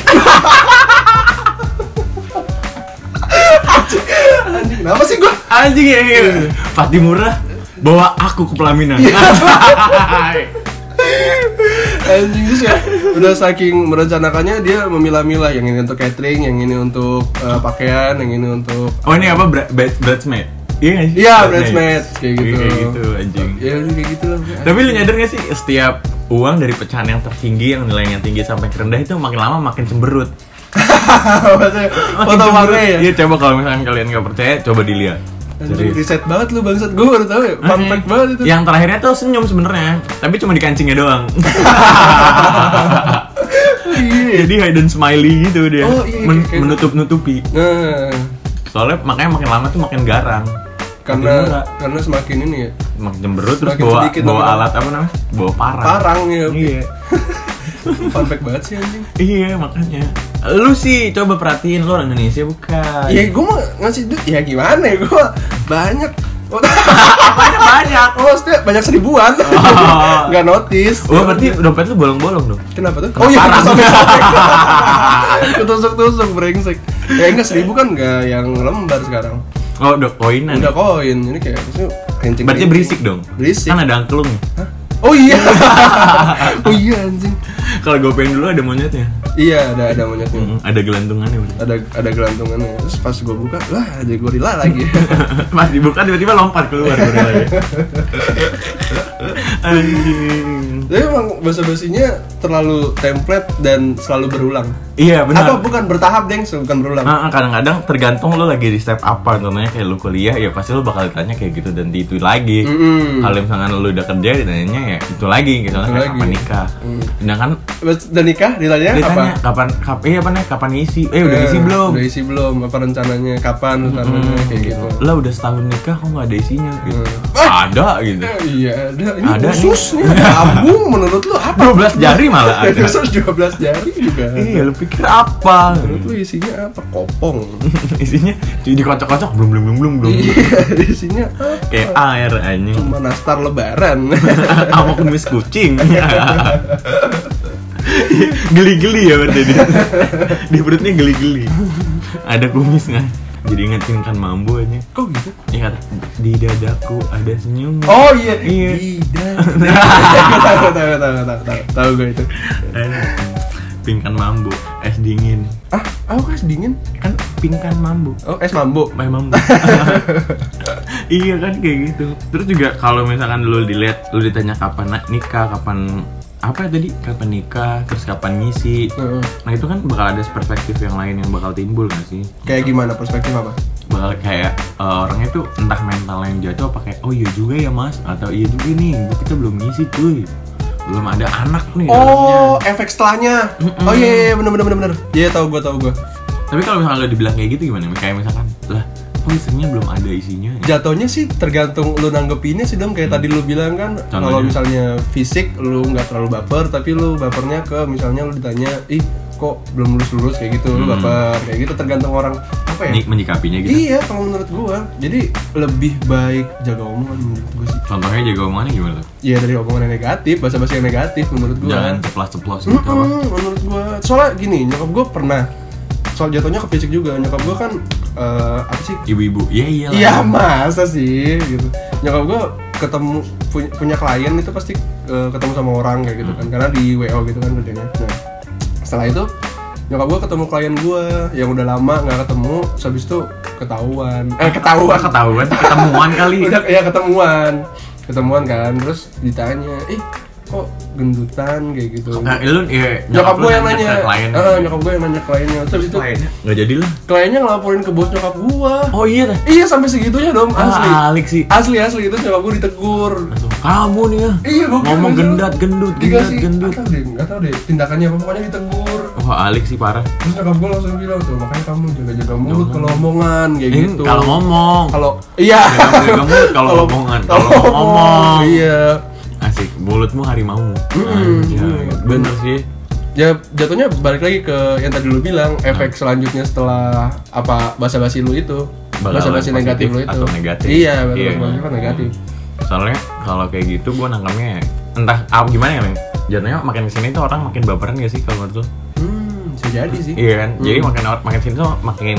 Speaker 1: Anjing, kenapa sih gua?
Speaker 2: anjing ya, ya. Fatih murah bawa aku ke pelaminan Iya. [LAUGHS]
Speaker 1: Anjing terus ya udah saking merencanakannya dia memilah-milah yang ini untuk catering, yang ini untuk eh, pakaian, yang ini untuk
Speaker 2: Oh ini apa bra- bra- bridesmaid? Iya nggak sih?
Speaker 1: Iya, bridesmaid. Kayak gitu.
Speaker 2: Kayak gitu anjing.
Speaker 1: ya udah kayak gitu lah.
Speaker 2: Tapi lu nyadar gak sih setiap uang dari pecahan yang tertinggi yang nilainya tinggi sampai ke rendah itu makin lama makin cemberut.
Speaker 1: [LAUGHS] Maksudnya,
Speaker 2: Makin
Speaker 1: foto
Speaker 2: cemberut.
Speaker 1: warna ya.
Speaker 2: Iya coba kalau misalnya kalian nggak percaya coba dilihat.
Speaker 1: Anjing
Speaker 2: Serius. Eh,
Speaker 1: riset banget lu bangsat, gua baru tahu ya. Fun fact banget itu.
Speaker 2: Yang terakhirnya tuh senyum sebenarnya, tapi cuma di kancingnya doang.
Speaker 1: Iya.
Speaker 2: [LAUGHS] Jadi hidden smiley gitu dia,
Speaker 1: Oh, iya, iya,
Speaker 2: Men-
Speaker 1: kayak-
Speaker 2: menutup-nutupi.
Speaker 1: Nah,
Speaker 2: Soalnya makanya makin lama tuh makin garang.
Speaker 1: karena
Speaker 2: Makin murah.
Speaker 1: karena semakin ini ya
Speaker 2: makin cemberut terus
Speaker 1: Semakin
Speaker 2: bawa
Speaker 1: sedikit
Speaker 2: bawa
Speaker 1: makin-
Speaker 2: alat apa namanya? Bawa parang.
Speaker 1: parang ya.
Speaker 2: Iya.
Speaker 1: Fun fact banget sih anjing.
Speaker 2: Iya makanya Lu sih coba perhatiin lu orang Indonesia bukan
Speaker 1: Ya gua mau ngasih duit ya gimana ya gua banyak. Oh,
Speaker 2: Banyak-banyak
Speaker 1: Oh, maksudnya banyak seribuan.
Speaker 2: Oh.
Speaker 1: Nggak notice.
Speaker 2: Wah berarti dompet lu bolong-bolong dong
Speaker 1: Kenapa tuh? Oh iya,
Speaker 2: Parang.
Speaker 1: sobek-sobek. Ketusuk-tusuk brengsek. Ya enggak seribu kan enggak yang lembar sekarang.
Speaker 2: Oh udah koinan
Speaker 1: Udah koin. Ini kayak maksudnya kencing.
Speaker 2: Berarti berisik dong
Speaker 1: Berisik.
Speaker 2: Kan ada angklung
Speaker 1: Hah? Oh iya. [LAUGHS] oh iya anjing.
Speaker 2: Kalau gue pengen dulu ada monyetnya
Speaker 1: Iya, ada ada monyetnya.
Speaker 2: Mm, Ada gelantungannya udah
Speaker 1: Ada ada gelantungannya. Terus pas gua buka, lah ada gorila lagi.
Speaker 2: [LAUGHS]
Speaker 1: [LAUGHS]
Speaker 2: Pas dibuka tiba-tiba lompat keluar gorilanya. Anjing
Speaker 1: Tapi emang bahasa-bahasanya terlalu template dan selalu berulang.
Speaker 2: Iya
Speaker 1: Atau
Speaker 2: benar
Speaker 1: bukan bertahap, Deng, bukan berulang.
Speaker 2: Ah, ah, kadang-kadang tergantung lo lagi di step apa contohnya kayak lu kuliah ya pasti lo bakal ditanya kayak gitu dan itu lagi
Speaker 1: Mm-mm.
Speaker 2: kalau misalkan lu udah kerja ditanyanya ya itu lagi gitu
Speaker 1: Itu
Speaker 2: kayak
Speaker 1: lagi. Mm.
Speaker 2: kapan nikah sedangkan
Speaker 1: Terus Dan nikah ditanya apa?
Speaker 2: ditanya kapan kapan eh apa nih kapan isi eh udah
Speaker 1: Eh,
Speaker 2: isi belum
Speaker 1: Udah isi belum? Apa rencananya? Kapan rencananya?
Speaker 2: Hmm,
Speaker 1: Kayak gitu.
Speaker 2: lah udah setahun nikah kok nggak ada isinya gitu
Speaker 1: Hmm.
Speaker 2: ada gitu
Speaker 1: Eh, Iya, ada. Ini
Speaker 2: Ada nih.
Speaker 1: khususnya lambung menurut lu apa?
Speaker 2: 12 jari malah ada.
Speaker 1: [LAUGHS] Khusus 12 jari juga.
Speaker 2: iya lu pikir apa
Speaker 1: Menurut lu isinya apa? Kopong.
Speaker 2: [LAUGHS] isinya di- dikocok-kocok belum belum belum belum belum
Speaker 1: Iya, isinya apa?
Speaker 2: kayak air anjing
Speaker 1: Cuma nastar lebaran.
Speaker 2: [LAUGHS] sama kumis kucing [LAUGHS] geli-geli ya berarti dia di perutnya geli-geli ada kumis nggak jadi ingetin kan mambu aja
Speaker 1: Kok gitu?
Speaker 2: ya kata, di dadaku ada senyum
Speaker 1: Oh iya,
Speaker 2: Iya.
Speaker 1: Bidan. tahu tahu tahu tahu tahu tahu gue itu.
Speaker 2: pingkan mambu es dingin
Speaker 1: Ah, aku kan dingin.
Speaker 2: kan pingkan mambu
Speaker 1: Oh, es mambo.
Speaker 2: my [LAUGHS] mambu iya kan kayak gitu terus juga kalau misalkan lu dilihat lu ditanya kapan na- nikah kapan apa ya tadi kapan nikah terus kapan ngisi
Speaker 1: Heeh.
Speaker 2: Nah itu kan bakal ada perspektif yang lain yang bakal timbul gak sih?
Speaker 1: Kayak gimana perspektif apa?
Speaker 2: Bakal kayak eh, orangnya tuh entah mental yang jatuh apa kayak oh iya juga ya mas atau iya juga nih kita belum ngisi cuy belum ada anak nih
Speaker 1: Oh,
Speaker 2: dalamnya."
Speaker 1: efek setelahnya.
Speaker 2: Mm-mm.
Speaker 1: Oh iya iya iya, bener bener bener bener. Iya tahu gua tahu gua.
Speaker 2: tapi kalau misalnya lo dibilang kayak gitu gimana? Kayak misalkan lah kok istrinya belum ada isinya ya?
Speaker 1: Jatuhnya sih tergantung lu nanggepinnya sih dong kayak tadi lu bilang kan
Speaker 2: Contohnya?
Speaker 1: kalau misalnya fisik lu nggak terlalu baper tapi lu bapernya ke misalnya lu ditanya ih kok belum lulus lulus kayak gitu lu
Speaker 2: Hmm.
Speaker 1: baper kayak gitu tergantung orang apa ya
Speaker 2: Ini menyikapinya gitu.
Speaker 1: iya kalau menurut gua jadi lebih baik jaga omongan menurut gua sih
Speaker 2: Contohnya jaga omongannya gimana tuh?
Speaker 1: Iya dari omongan yang negatif, bahasa-bahasa yang negatif menurut gua. kan.
Speaker 2: Jangan ceplas-ceplos gitu apa?
Speaker 1: Mm-mm, menurut gua soalnya gini nyokap gua pernah soal jatuhnya ke fisik juga nyokap gua kan eh, apa sih
Speaker 2: Ibu-ibu. Iya iya. lah.
Speaker 1: iya masa sih gitu nyokap gua ketemu punya, punya klien itu pasti eh, ketemu sama orang kayak gitu kan karena di wo gitu kan kerjanya nah setelah itu nyokap gua ketemu klien gua yang udah lama nggak ketemu terus habis itu ketahuan eh
Speaker 2: Wah,
Speaker 1: ketahuan
Speaker 2: ketahuan ketemuan kali.
Speaker 1: udah ya ketemuan ketemuan kan terus ditanya ih kok gendutan kayak gitu
Speaker 2: Nah, lu ya,
Speaker 1: nyokap gue yang nanya
Speaker 2: Lain.
Speaker 1: Eh, nyokap gue yang nanya kliennya terus itu
Speaker 2: Nggak jadi lah.
Speaker 1: kliennya ngelaporin ke bos nyokap gue
Speaker 2: Oh iya dah.
Speaker 1: iya sampai segitunya dong asli
Speaker 2: Ah, Alex sih.
Speaker 1: asli asli itu nyokap gue ditegur
Speaker 2: Langsung, Kamu nih ya.
Speaker 1: iya gue
Speaker 2: Ngomong gendat, gendut, gendat,
Speaker 1: dikasih
Speaker 2: gendut.
Speaker 1: nggak tahu deh nggak tahu deh tindakannya apa pokoknya ditegur
Speaker 2: Wah, Alex sih parah.
Speaker 1: terus nyokap gue langsung bilang tuh makanya kamu jaga jaga mulut
Speaker 2: Jangan.
Speaker 1: kalau omongan kayak
Speaker 2: Ini
Speaker 1: gitu
Speaker 2: kalau ngomong.
Speaker 1: kalau iya
Speaker 2: Jangan jaga mulut kalau omongan. Kalau ngomong.
Speaker 1: iya
Speaker 2: Asik, mulutmu harimau.
Speaker 1: Mm-mm. iya.
Speaker 2: Anjay, Bener sih.
Speaker 1: ya jatuhnya balik lagi ke yang tadi lu bilang
Speaker 2: Nah.
Speaker 1: efek selanjutnya setelah apa basa-basi lu itu
Speaker 2: Bakalan
Speaker 1: basa-basi negatif lu itu
Speaker 2: positif atau negatif.
Speaker 1: iya
Speaker 2: Iya.
Speaker 1: basa-basi positif atau negatif
Speaker 2: Soalnya kalau kayak gitu gue nangkapnya entah apa gimana ya, Meng? Jatuhnya makin kesini tuh orang makin baperan gak sih kalau menurut lu?
Speaker 1: hmm bisa jadi sih
Speaker 2: Iya kan? Jadi
Speaker 1: Hmm.
Speaker 2: makin makin sini tuh makin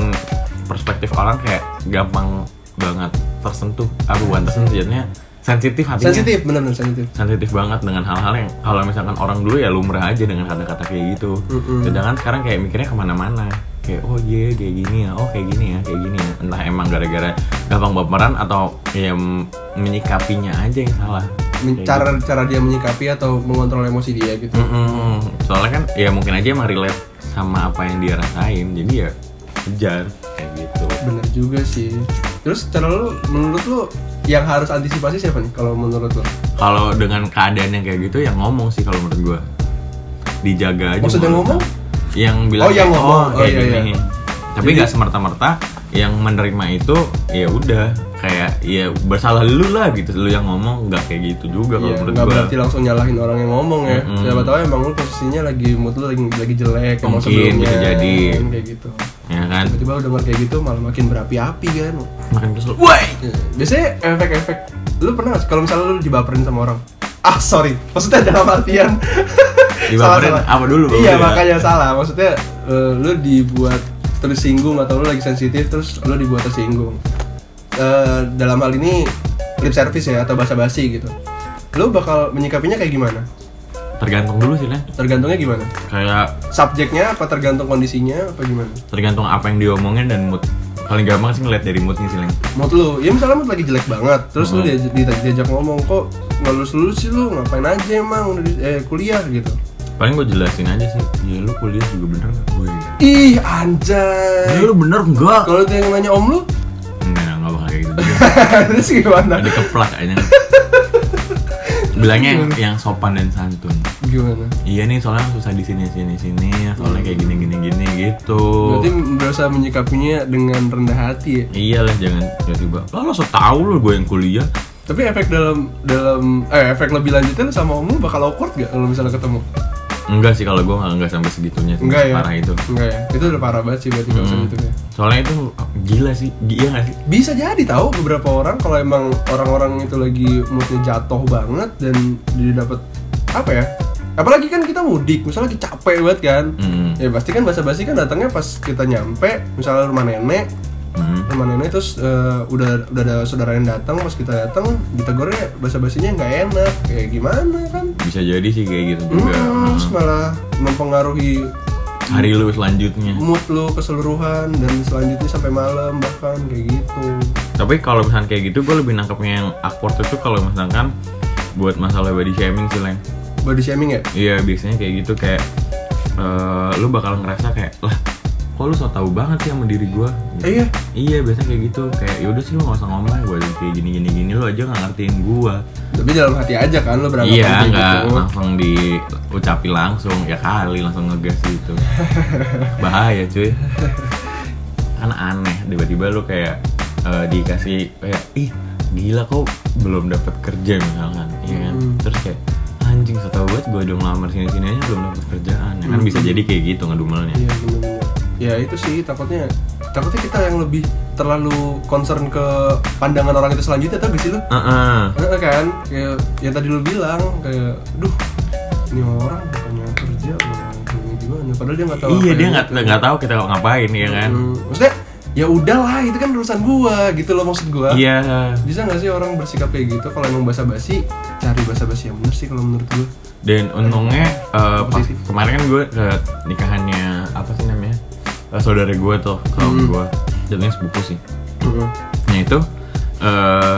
Speaker 2: perspektif orang kayak gampang banget tersentuh. Ah bukan tersentuh jadinya sensitif hatinya.
Speaker 1: sensitif bener-bener sensitif
Speaker 2: Sensitif banget dengan hal-hal yang kalau misalkan orang dulu ya lumrah aja dengan kata-kata kayak gitu.
Speaker 1: Mm-mm.
Speaker 2: Sedangkan sekarang kayak mikirnya kemana-mana. Kayak oh iya kayak gini ya, oh kayak gini ya, kayak gini ya. Entah emang gara-gara gampang baperan atau ya m- menyikapinya aja yang salah.
Speaker 1: Men-
Speaker 2: Kayak gitu.
Speaker 1: cara cara dia menyikapi atau mengontrol emosi dia gitu
Speaker 2: Mm-mm. Soalnya kan ya mungkin aja emang relate sama apa yang dia rasain. Jadi ya kejar kayak gitu.
Speaker 1: bener juga sih terus cara lu menurut lu yang harus antisipasi siapa nih kalau menurut lu
Speaker 2: Kalau dengan keadaan yang kayak gitu ya ngomong sih kalau menurut gua. Dijaga aja.
Speaker 1: Maksudnya
Speaker 2: mulut.
Speaker 1: ngomong?
Speaker 2: Yang bilang
Speaker 1: Oh, yang
Speaker 2: kayak,
Speaker 1: ngomong.
Speaker 2: kayak
Speaker 1: Oh, iya,
Speaker 2: gini."
Speaker 1: iya.
Speaker 2: Tapi
Speaker 1: Jadi-
Speaker 2: nggak semerta-merta yang menerima itu ya udah kayak ya bersalah lu lah gitu lu yang ngomong nggak kayak gitu juga kalau
Speaker 1: Iya,
Speaker 2: menurut
Speaker 1: nggak
Speaker 2: gua
Speaker 1: berarti langsung nyalahin orang yang ngomong ya.
Speaker 2: Mm-mm.
Speaker 1: Siapa tahu emang lu posisinya lagi mood lu lagi lagi jelek emang
Speaker 2: Mungkin, bisa jadi.
Speaker 1: kan, kayak gitu.
Speaker 2: ya kan
Speaker 1: Tiba-tiba lu denger kayak gitu malah makin berapi-api kan.
Speaker 2: makan kesel woi
Speaker 1: Iya. Biasanya efek-efek lu pernah nggak sih kalau misalnya lu dibaperin sama orang? Ah sorry, maksudnya dalam
Speaker 2: [LAUGHS]
Speaker 1: artian
Speaker 2: Dibaperin apa dulu,
Speaker 1: Iya
Speaker 2: baperin?
Speaker 1: makanya salah, maksudnya eh, lu dibuat tersinggung atau lu lagi sensitif terus lu dibuat tersinggung. Eh, dalam hal ini lip service ya atau basa-basi gitu. Lu bakal menyikapinya kayak gimana?
Speaker 2: tergantung dulu sih lah
Speaker 1: Tergantungnya gimana?
Speaker 2: kayak
Speaker 1: Subjeknya apa tergantung kondisinya apa gimana?
Speaker 2: tergantung apa yang diomongin dan mood paling gampang sih ngeliat dari moodnya sih Leng.
Speaker 1: Mood lu, ya misalnya mood lagi jelek banget, terus lu
Speaker 2: Hmm.
Speaker 1: diaj- diaj- diajak ngomong kok nggak lulus lulus sih lu ngapain aja emang udah di- eh, kuliah gitu.
Speaker 2: paling gue jelasin aja sih ya
Speaker 1: Iya,
Speaker 2: lu kuliah juga bener nggak gue
Speaker 1: Ih anjay.
Speaker 2: lu bener enggak
Speaker 1: Kalau tuh yang nanya om lu, [LAUGHS]
Speaker 2: enggak enggak bakal kayak gitu
Speaker 1: terus gimana?
Speaker 2: ada keplak
Speaker 1: [LAUGHS]
Speaker 2: aja bilangnya
Speaker 1: Hmm.
Speaker 2: yang, yang sopan dan santun
Speaker 1: Gimana?
Speaker 2: iya nih soalnya susah di sini sini sini soalnya kayak gini gini gini gitu
Speaker 1: Hmm. Berarti berusaha menyikapinya dengan rendah hati ya.
Speaker 2: iyalah Iya jangan tiba-tiba lah lo setau lo gue yang kuliah
Speaker 1: Tapi efek dalam dalam eh efek lebih lanjutnya lu sama om lu bakal awkward gak kalau misalnya ketemu?
Speaker 2: enggak sih kalau gue nggak enggak sampai segitunya sih
Speaker 1: Enggak ya?
Speaker 2: parah itu
Speaker 1: Enggak ya. Itu udah parah banget sih berarti kalau
Speaker 2: Mm.
Speaker 1: misalnya gitu ya.
Speaker 2: soalnya itu gila sih iya nggak sih
Speaker 1: bisa jadi tahu beberapa orang kalau emang orang-orang itu lagi moodnya jatuh banget dan dia dapat apa ya apalagi kan kita mudik misalnya lagi capek banget kan
Speaker 2: Mm.
Speaker 1: ya pasti kan basa-basi kan datangnya pas kita nyampe misalnya rumah nenek
Speaker 2: Mm.
Speaker 1: rumah nenek terus eh, udah udah ada saudara yang datang pas kita datang ditegurnya basa-basinya nggak enak kayak gimana kan
Speaker 2: bisa jadi sih kayak gitu
Speaker 1: Hmm,
Speaker 2: juga Mm.
Speaker 1: terus malah mempengaruhi
Speaker 2: hari lu selanjutnya
Speaker 1: mood lu keseluruhan dan selanjutnya sampai malam bahkan kayak gitu
Speaker 2: tapi kalau misalkan kayak gitu gue lebih nangkepnya yang awkward itu kalau misalkan buat masalah body shaming sih Leng
Speaker 1: body shaming ya
Speaker 2: iya biasanya kayak gitu kayak eh, lu bakal ngerasa kayak lah kok lu so tau banget sih sama diri gue
Speaker 1: Eh, iya
Speaker 2: iya biasanya kayak gitu kayak yaudah sih lu gak usah ngomong gue kayak gini gini gini lu aja gak ngertiin gue
Speaker 1: tapi dalam hati aja kan lo beranggapan
Speaker 2: iya
Speaker 1: kayak
Speaker 2: nggak
Speaker 1: gitu.
Speaker 2: langsung diucapin langsung ya kali langsung ngegas
Speaker 1: [LAUGHS]
Speaker 2: gitu bahaya cuy kan aneh tiba-tiba lu kayak eh, dikasih kayak ih gila kok belum dapat kerja misalkan iya kan
Speaker 1: Hmm.
Speaker 2: terus kayak anjing anjing setahu gue gue udah ngelamar sini sini aja belum dapat kerjaan ya kan bisa jadi kayak gitu ngedumelnya
Speaker 1: Hmm. Iya bener-bener. Ya itu sih takutnya takutnya kita yang lebih terlalu concern ke pandangan orang itu selanjutnya tau gak sih lu?
Speaker 2: ah ah.
Speaker 1: Heeh, kan kayak yang tadi lu bilang kayak duh ini orang bukannya kerja malah ini gimana padahal dia nggak tahu
Speaker 2: iya
Speaker 1: apa
Speaker 2: dia
Speaker 1: yang
Speaker 2: nggak
Speaker 1: itu.
Speaker 2: nggak tahu kita ngapain ya kan
Speaker 1: Hmm, maksudnya ya udahlah itu kan urusan gua gitu loh maksud gua
Speaker 2: iya
Speaker 1: bisa nggak sih orang bersikap kayak gitu kalau emang basa-basi cari basa-basi yang bener sih kalau menurut gua
Speaker 2: dan untungnya eh, pas-
Speaker 1: Positif.
Speaker 2: kemarin kan gue ke nikahannya apa sih namanya Eh, saudara gue tuh kalau
Speaker 1: Hmm.
Speaker 2: gue jatuhnya sepupu sih nah itu eh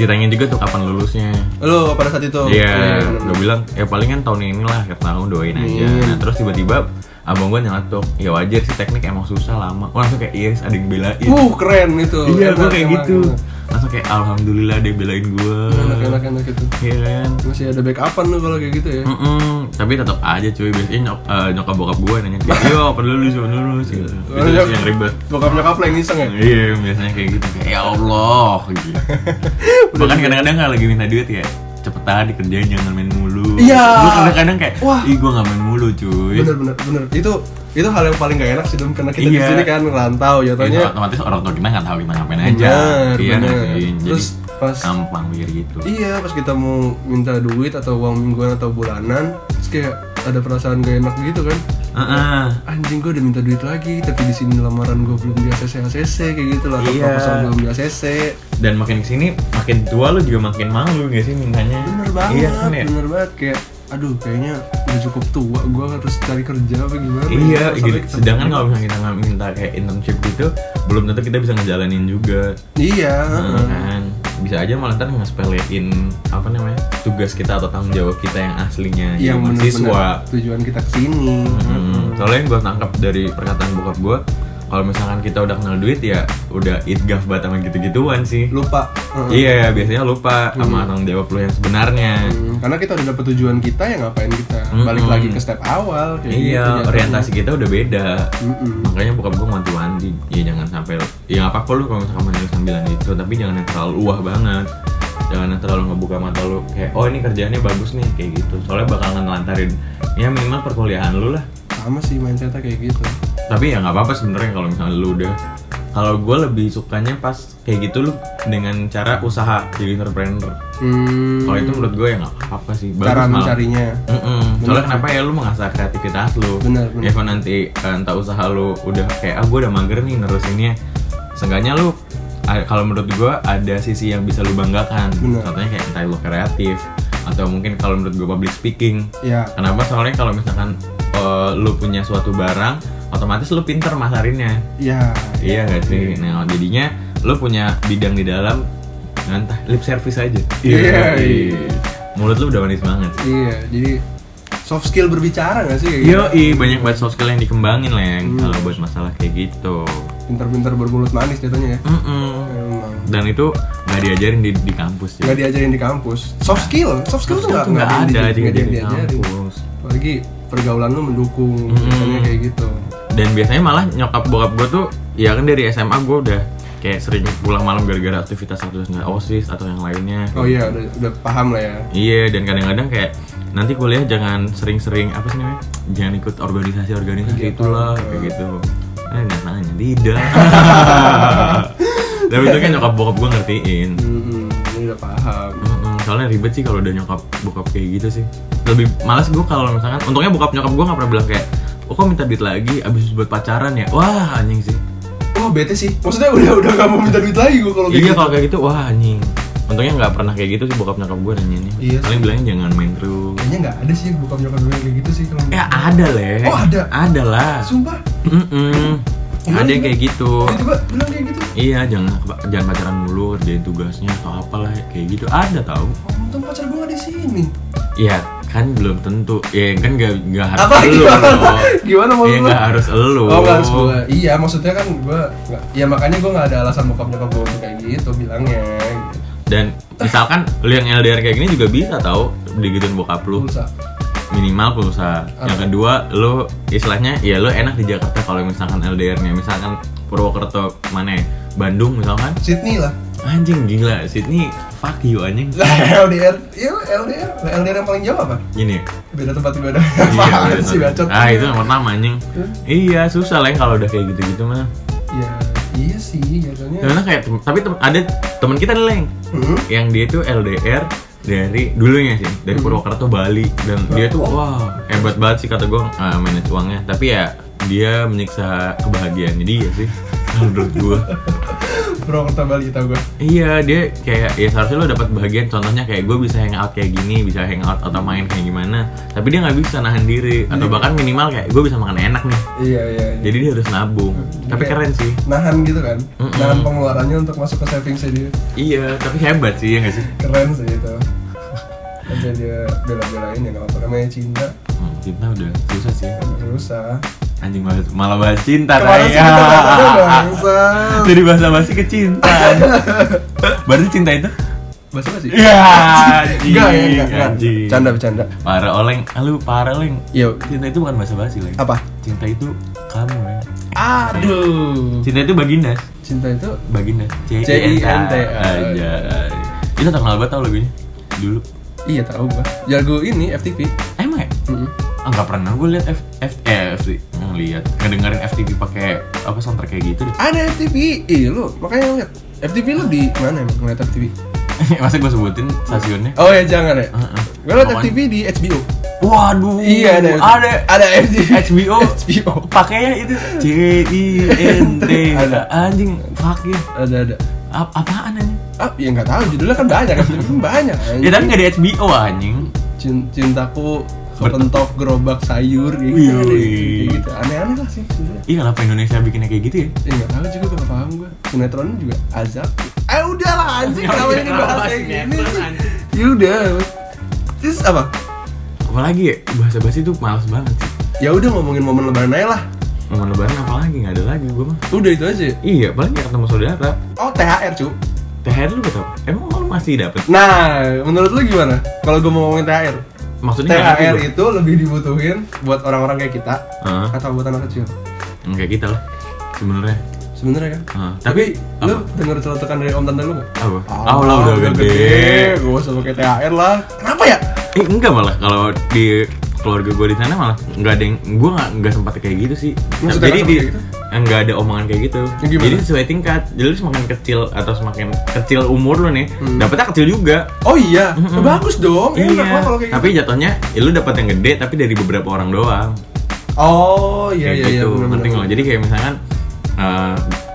Speaker 2: ditanya juga tuh kapan lulusnya
Speaker 1: lo pada saat itu
Speaker 2: Iya,
Speaker 1: bener-bener.
Speaker 2: gue bilang ya palingan tahun ini lah, akhir tahun doain aja.
Speaker 1: Iya.
Speaker 2: Nah terus tiba-tiba abang gue nyeletuk, ya wajar sih teknik emang susah lama. Gue langsung kayak yes, ada yang belain.
Speaker 1: uh keren itu
Speaker 2: Gitu. iya, gue
Speaker 1: Enak,
Speaker 2: kayak
Speaker 1: enak,
Speaker 2: gitu.
Speaker 1: enak.
Speaker 2: Langsung kayak alhamdulillah ada yang belain gue.
Speaker 1: enak enak enak gitu
Speaker 2: Iya kan.
Speaker 1: masih ada backupan lo kalau kayak gitu ya
Speaker 2: Mm. Mm-mm, tapi tetap aja cuy biasanya nyok, eh, nyokap bokap gue nanya kayak yo apa lulus apa lulus gitu itu
Speaker 1: Banyak.
Speaker 2: yang ribet
Speaker 1: ya. bokap nyokap lo yang iseng ya
Speaker 2: iya biasanya kayak gitu kayak ya allah
Speaker 1: [LAUGHS]
Speaker 2: gitu bahkan kadang-kadang kalau lagi minta duit ya cepetan dikerjain jangan main mulu
Speaker 1: Iya.
Speaker 2: Gua kadang-kadang kayak
Speaker 1: Wah.
Speaker 2: ih gue nggak main mulu cuy
Speaker 1: bener bener bener itu itu hal yang paling gak enak sih Dom, karena kita di
Speaker 2: Iya.
Speaker 1: sini kan ngerantau
Speaker 2: Jadi
Speaker 1: jatuhnya
Speaker 2: otomatis orang tua kita nggak tahu kita ngapain aja
Speaker 1: Bener,
Speaker 2: iya
Speaker 1: bener.
Speaker 2: ngertiin. jadi
Speaker 1: Terus pas-
Speaker 2: gampang mikir gitu
Speaker 1: Iya, pas kita mau minta duit atau uang mingguan atau bulanan, terus kayak ada perasaan gak enak gitu kan.
Speaker 2: Heeh.
Speaker 1: Anjing gue udah minta duit lagi, tapi di sini lamaran gue belum di ACC ACC kayak gitu lah, atau
Speaker 2: Iya.
Speaker 1: proposal belum di ACC.
Speaker 2: dan makin kesini makin tua lu juga makin malu gak sih mintanya
Speaker 1: Bener banget,
Speaker 2: iya kan ya
Speaker 1: bener banget kayak aduh kayaknya udah cukup tua gue harus cari kerja apa gimana ya?
Speaker 2: Iya,
Speaker 1: Sampai
Speaker 2: gitu.
Speaker 1: ketemu-
Speaker 2: Sedangkan kalau misalnya kita nggak minta kayak internship gitu, belum tentu kita bisa ngejalanin juga.
Speaker 1: iya
Speaker 2: Nah, kan. Bisa aja malah ntar ngespelein apa namanya tugas kita atau tanggung jawab kita yang aslinya
Speaker 1: yang
Speaker 2: jadi mahasiswa.
Speaker 1: bener-bener tujuan kita kesini
Speaker 2: Hmm, Soalnya yang gue tangkap dari perkataan bokap gue, kalau misalkan kita udah kenal duit ya udah itgaf banget sama gitu-gituan sih.
Speaker 1: lupa Heeh.
Speaker 2: Iya, biasanya lupa sama tanggung jawab lu yang sebenarnya.
Speaker 1: Hmm, karena kita udah dapet tujuan kita ya ngapain kita
Speaker 2: Mm-mm.
Speaker 1: balik lagi ke step awal kayak
Speaker 2: Hmm. Iya,
Speaker 1: gitu, jatuhnya.
Speaker 2: orientasi kita udah beda.
Speaker 1: Mm-mm.
Speaker 2: makanya bokap gue wanti-wanti ya jangan sampai ya apa apa lu kalau misalkan menulis sambilan gitu tapi jangan yang terlalu wah banget jangan yang terlalu ngebuka mata lu kayak oh ini kerjaannya bagus nih kayak gitu soalnya bakal ngelantarin ya minimal perkuliahan lu lah
Speaker 1: sama sih mindsetnya kayak gitu
Speaker 2: tapi ya nggak apa-apa sebenarnya kalau misalnya lu udah kalau gue lebih sukanya pas kayak gitu lu dengan cara usaha jadi entrepreneur
Speaker 1: hmm,
Speaker 2: kalau itu menurut gue ya nggak apa-apa sih bagus
Speaker 1: cara
Speaker 2: malah.
Speaker 1: mencarinya
Speaker 2: Mm-mm. Soalnya kenapa ya lu mengasah kreativitas lu
Speaker 1: Benar, benar.
Speaker 2: Ya kalau nanti eh, entah usaha lu udah kayak ah gue udah mager nih nerusinnya Seenggaknya lu a- kalau menurut gua ada sisi yang bisa lu banggakan
Speaker 1: Benar.
Speaker 2: Contohnya kayak entah lu kreatif Atau mungkin kalau menurut gua public speaking
Speaker 1: ya
Speaker 2: Kenapa? Soalnya kalau misalkan eh, lu punya suatu barang Otomatis lu pinter masarinnya
Speaker 1: ya
Speaker 2: Iya nggak sih? Nah jadinya lu punya bidang di dalam nah, Entah lip service aja
Speaker 1: Iya.
Speaker 2: Iya. Mulut lu udah manis banget sih
Speaker 1: iya jadi soft skill berbicara nggak sih kayak gitu
Speaker 2: Yo, banyak banget soft skill yang dikembangin
Speaker 1: Hmm.
Speaker 2: leng kalau buat masalah kayak gitu.
Speaker 1: pinter-pinter bermulut manis jatuhnya ya
Speaker 2: Mm-mm.
Speaker 1: emang
Speaker 2: Dan itu nggak diajarin di, di kampus
Speaker 1: nggak
Speaker 2: juga.
Speaker 1: diajarin di kampus soft skill soft skill tuh nggak
Speaker 2: nggak
Speaker 1: nggak
Speaker 2: ada
Speaker 1: di-
Speaker 2: juga
Speaker 1: nggak
Speaker 2: di
Speaker 1: diajarin
Speaker 2: kampus.
Speaker 1: apalagi pergaulan lu mendukung biasanya kayak gitu
Speaker 2: Dan biasanya malah nyokap bokap gue tuh, ya kan dari SMA gue udah kayak sering pulang malam gara-gara aktivitas aktivitas osis atau yang lainnya.
Speaker 1: oh iya udah, udah paham lah ya
Speaker 2: Iya, dan kadang-kadang kayak nanti kuliah jangan sering-sering apa sih namanya? Jangan ikut organisasi-organisasi itulah kayak gitu. Eh, nggak nanya,
Speaker 1: [LAUGHS]
Speaker 2: tidak. Tapi itu kan nyokap bokap gue ngertiin.
Speaker 1: hmm, ini udah paham
Speaker 2: Mm-mm, Soalnya ribet sih kalau udah nyokap bokap kayak gitu sih. Lebih malas gue kalau misalkan, untungnya bokap nyokap gue nggak pernah bilang kayak, oh kok minta duit lagi abis buat pacaran ya? Wah anjing sih.
Speaker 1: Wah Oh, bete sih. Maksudnya [LAUGHS] udah udah gak mau minta duit lagi gue kalau kayak
Speaker 2: Iya
Speaker 1: gitu.
Speaker 2: kalau kayak gitu, wah anjing. Untungnya nggak pernah kayak gitu sih bokap nyokap gue nanyainnya.
Speaker 1: Iya
Speaker 2: Paling bilangnya jangan main terus.
Speaker 1: Kayaknya nggak ada sih bokap nyokap gue kayak gitu sih kalau.
Speaker 2: Ya ada leh.
Speaker 1: Oh, ada?
Speaker 2: Ada lah.
Speaker 1: Sumpah.
Speaker 2: Mm-mm.
Speaker 1: Gimana,
Speaker 2: Ada yang
Speaker 1: gimana?
Speaker 2: kayak gitu.
Speaker 1: Dia tiba bilang kayak gitu.
Speaker 2: Iya, jangan jangan pacaran mulu, kerjain tugasnya atau apalah kayak gitu. Ada tahu?
Speaker 1: Oh, untung pacar gue gak di sini.
Speaker 2: Iya, kan belum tentu. Ya kan gak, gak harus
Speaker 1: Apa
Speaker 2: elu.
Speaker 1: gimana? [LAUGHS] Gimana mau
Speaker 2: Iya,
Speaker 1: lu?
Speaker 2: gak harus elu.
Speaker 1: Oh nggak harus gue. Iya maksudnya kan gue. Ya makanya gue nggak ada alasan bokap nyokap gue untuk kayak gitu bilangnya.
Speaker 2: Dan misalkan lu yang LDR kayak gini juga bisa tahu digituin bokap lu.
Speaker 1: Pulsa.
Speaker 2: Minimal pulsa. Yang kedua, lu istilahnya ya lu enak di Jakarta kalau misalkan LDR-nya misalkan Purwokerto mana ya? Bandung misalkan
Speaker 1: Sydney lah.
Speaker 2: anjing gila Sydney fuck you anjing
Speaker 1: Lah [LAUGHS] LDR, iya LDR, Lah, LDR yang paling jauh apa?
Speaker 2: gini ya?
Speaker 1: Beda tempat ibadah.
Speaker 2: Iya,
Speaker 1: Apaan
Speaker 2: bener.
Speaker 1: sih bacot?
Speaker 2: ah itu yang pertama anjing
Speaker 1: Terus?
Speaker 2: iya susah lah ya kalau udah kayak gitu gitu mah
Speaker 1: Ya, iya sih jatuhnya.
Speaker 2: karena kayak tem- tapi tem- ada teman kita nih leng
Speaker 1: Hmm?
Speaker 2: yang dia tuh LDR dari dulunya sih dari
Speaker 1: Hmm.
Speaker 2: Purwokerto Bali dan dia tuh wah hebat banget sih kata gue ah, manage uangnya tapi ya dia menyiksa kebahagiaannya dia sih [LAUGHS] kalau menurut gue
Speaker 1: [LAUGHS] Bro, kita Bali tau gue.
Speaker 2: iya dia kayak ya seharusnya lo dapat bahagian contohnya kayak gue bisa hangout kayak gini bisa hangout atau main kayak gimana tapi dia nggak bisa nahan diri atau
Speaker 1: Iya.
Speaker 2: bahkan minimal kayak gue bisa makan enak nih
Speaker 1: Iya, iya. iya.
Speaker 2: jadi dia harus nabung tapi
Speaker 1: Kayak
Speaker 2: keren sih
Speaker 1: Nahan gitu kan.
Speaker 2: Mm-mm.
Speaker 1: Nahan pengeluarannya untuk masuk ke savings dia.
Speaker 2: iya tapi hebat sih ya nggak sih
Speaker 1: Keren sih
Speaker 2: [LAUGHS]
Speaker 1: itu. Sampai dia bela-belain ya kalau namanya cinta
Speaker 2: Hmm, cinta udah susah sih
Speaker 1: berusaha.
Speaker 2: anjing banget malah bahas cinta
Speaker 1: Kemarin sih kita
Speaker 2: [LAUGHS]
Speaker 1: bahasnya bangsa.
Speaker 2: Jadi bahasa basi ke cinta.
Speaker 1: [LAUGHS]
Speaker 2: Berarti cinta itu?
Speaker 1: Bahasa apa sih?
Speaker 2: Iya, [LAUGHS]
Speaker 1: Enggak, ya,
Speaker 2: anjing.
Speaker 1: enggak, enggak.
Speaker 2: Iya, anjing.
Speaker 1: Canda, bercanda.
Speaker 2: Para oleng, ah, lu para oleng.
Speaker 1: Yo,
Speaker 2: Cinta itu bukan bahasa basi, Leng.
Speaker 1: apa?
Speaker 2: Cinta itu kamu, Leng.
Speaker 1: Aduh.
Speaker 2: Cinta itu baginda.
Speaker 1: Cinta itu
Speaker 2: Baginda. C
Speaker 1: C-I-N-T-A.
Speaker 2: Aja. Itu terkenal banget tau lagunya. Dulu.
Speaker 1: iya tahu gua. Jago ini FTV.
Speaker 2: Emang ya?
Speaker 1: Mm-mm.
Speaker 2: Ah, nggak pernah gue liat F, F, eh, F, ngeliat, ngedengerin FTV pakai apa soundtrack kayak gitu deh. [LAUGHS]
Speaker 1: Ada FTV. Ih, Iya, lu makanya lu lihat. FTV lu di mana emang ngeliat FTV?
Speaker 2: Masa gue sebutin stasiunnya?
Speaker 1: Oh ya jangan ya.
Speaker 2: Heeh.
Speaker 1: Gua liat
Speaker 2: Apaan?
Speaker 1: FTV di HBO.
Speaker 2: Waduh.
Speaker 1: Iya ada.
Speaker 2: Ada.
Speaker 1: Ada FTV.
Speaker 2: HBO.
Speaker 1: HBO.
Speaker 2: Pakainya ya itu C I N T.
Speaker 1: Ada.
Speaker 2: Anjing. Fuck ya.
Speaker 1: Ada ada.
Speaker 2: Ap apaan anjing?
Speaker 1: Ah, ya nggak tahu judulnya kan banyak. FTV kan banyak.
Speaker 2: Ya tapi nggak di HBO anjing.
Speaker 1: Cin- cintaku
Speaker 2: Ber-
Speaker 1: kepentok gerobak sayur kayak gitu. ada
Speaker 2: Wih.
Speaker 1: yang kayak gitu. Aneh-aneh lah sih sebenarnya.
Speaker 2: Iya kenapa Indonesia bikinnya kayak gitu ya?
Speaker 1: Ya nggak tahu juga gak paham gue. Sinetronnya juga azab. Eh udahlah anjing kenapa ini bahas kayak gini sih? Ya udah. Terus apa?
Speaker 2: Apalagi ya bahasa basi tuh males banget sih.
Speaker 1: Ya udah ngomongin momen lebaran aja lah.
Speaker 2: Momen lebaran apalagi nggak ada lagi gue mah.
Speaker 1: Udah itu aja.
Speaker 2: Iya paling nggak ketemu saudara.
Speaker 1: Oh THR cu.
Speaker 2: THR lu gak tau? Emang lu masih dapet?
Speaker 1: Nah, menurut lu gimana? Kalau gue mau ngomongin THR,
Speaker 2: Maksudnya nggak ngerti
Speaker 1: THR
Speaker 2: gua.
Speaker 1: itu lebih dibutuhin buat orang-orang kayak kita
Speaker 2: Heeh.
Speaker 1: atau buat anak kecil?
Speaker 2: Kayak kita lah sebenarnya.
Speaker 1: Sebenarnya kan.
Speaker 2: Heeh. Tapi
Speaker 1: Tapi lu denger celotekan dari om tante lu nggak?
Speaker 2: apa? Ah lah udah gede.
Speaker 1: Gue usah pakai THR lah. Kenapa ya?
Speaker 2: Eh enggak malah kalau di keluarga gue di sana malah nggak ada yang gue nggak nggak sempat kayak gitu sih.
Speaker 1: Maksudnya
Speaker 2: jadi
Speaker 1: nggak
Speaker 2: di
Speaker 1: sempat kayak gitu?
Speaker 2: nggak ada omongan kayak gitu.
Speaker 1: Ya, gimana?
Speaker 2: Jadi sesuai tingkat. Jadi lu semakin kecil atau semakin kecil umur lu nih,
Speaker 1: Hmm.
Speaker 2: dapatnya kecil juga.
Speaker 1: Oh iya,
Speaker 2: Mm-mm. Iya.
Speaker 1: bagus dong. Enak lah kalau kayak
Speaker 2: Tapi jatuhnya ya lu dapat yang gede tapi dari beberapa orang doang.
Speaker 1: gitu. Oh iya
Speaker 2: Kayak
Speaker 1: iya iya.
Speaker 2: gitu.
Speaker 1: bener-bener.
Speaker 2: Penting loh. Jadi kayak misalkan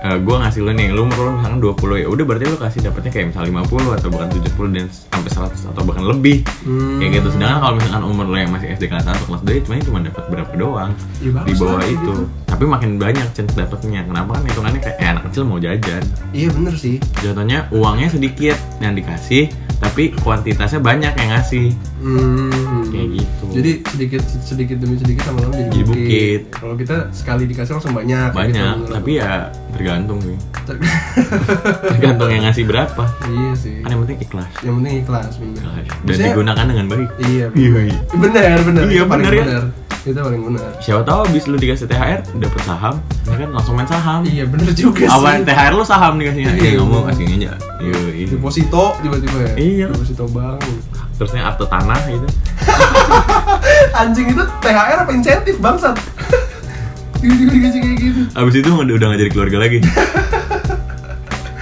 Speaker 2: eh gue ngasih lu nih, lu umur lu misalkan 20 ya udah berarti lu kasih dapatnya kayak misalnya 50 atau bahkan 70 dan sampai 100 atau bahkan lebih
Speaker 1: Hmm.
Speaker 2: kayak gitu sedangkan kalau misalkan umur lo yang masih SD kelas 1 kelas 2 ya cuma cuma dapat berapa doang
Speaker 1: Ya, bagus
Speaker 2: di bawah
Speaker 1: lah, kayak
Speaker 2: itu
Speaker 1: gitu.
Speaker 2: tapi makin banyak chance dapatnya kenapa kan hitungannya kayak eh, anak kecil mau jajan
Speaker 1: Iya bener sih.
Speaker 2: jatuhnya uangnya sedikit yang dikasih tapi kuantitasnya banyak yang ngasih
Speaker 1: Hmm.
Speaker 2: Kayak gitu.
Speaker 1: Jadi sedikit sedikit demi sedikit sama lama jadi
Speaker 2: Jadi
Speaker 1: bukit.
Speaker 2: bukit.
Speaker 1: Kalau kita sekali dikasih langsung banyak. kayak
Speaker 2: banyak
Speaker 1: gitu,
Speaker 2: tapi ya tergantung sih
Speaker 1: menurut-
Speaker 2: tergantung yang ngasih berapa
Speaker 1: [LAUGHS] iya sih.
Speaker 2: kan yang penting ikhlas
Speaker 1: Yang penting ikhlas bener.
Speaker 2: Ikhlas. dan
Speaker 1: Maksudnya-
Speaker 2: digunakan dengan baik
Speaker 1: Iya.
Speaker 2: Iya,
Speaker 1: Bener
Speaker 2: iya.
Speaker 1: bener. bener.
Speaker 2: Iya,
Speaker 1: Itu paling
Speaker 2: bener ya.
Speaker 1: bener. Itu paling bener.
Speaker 2: siapa tahu abis lu dikasih THR dapet saham ya kan langsung main saham
Speaker 1: Iya bener juga sih.
Speaker 2: awan THR lu saham dikasihnya
Speaker 1: Iya.
Speaker 2: iya ngomong kasihnya aja Yoi.
Speaker 1: Deposito tiba-tiba ya.
Speaker 2: Iya.
Speaker 1: Deposito bank.
Speaker 2: terusnya akte tanah gitu
Speaker 1: Anjing itu THR apa insentif bangsat? Tiba-tiba dikasih kayak gitu.
Speaker 2: Abis itu udah udah gak jadi keluarga lagi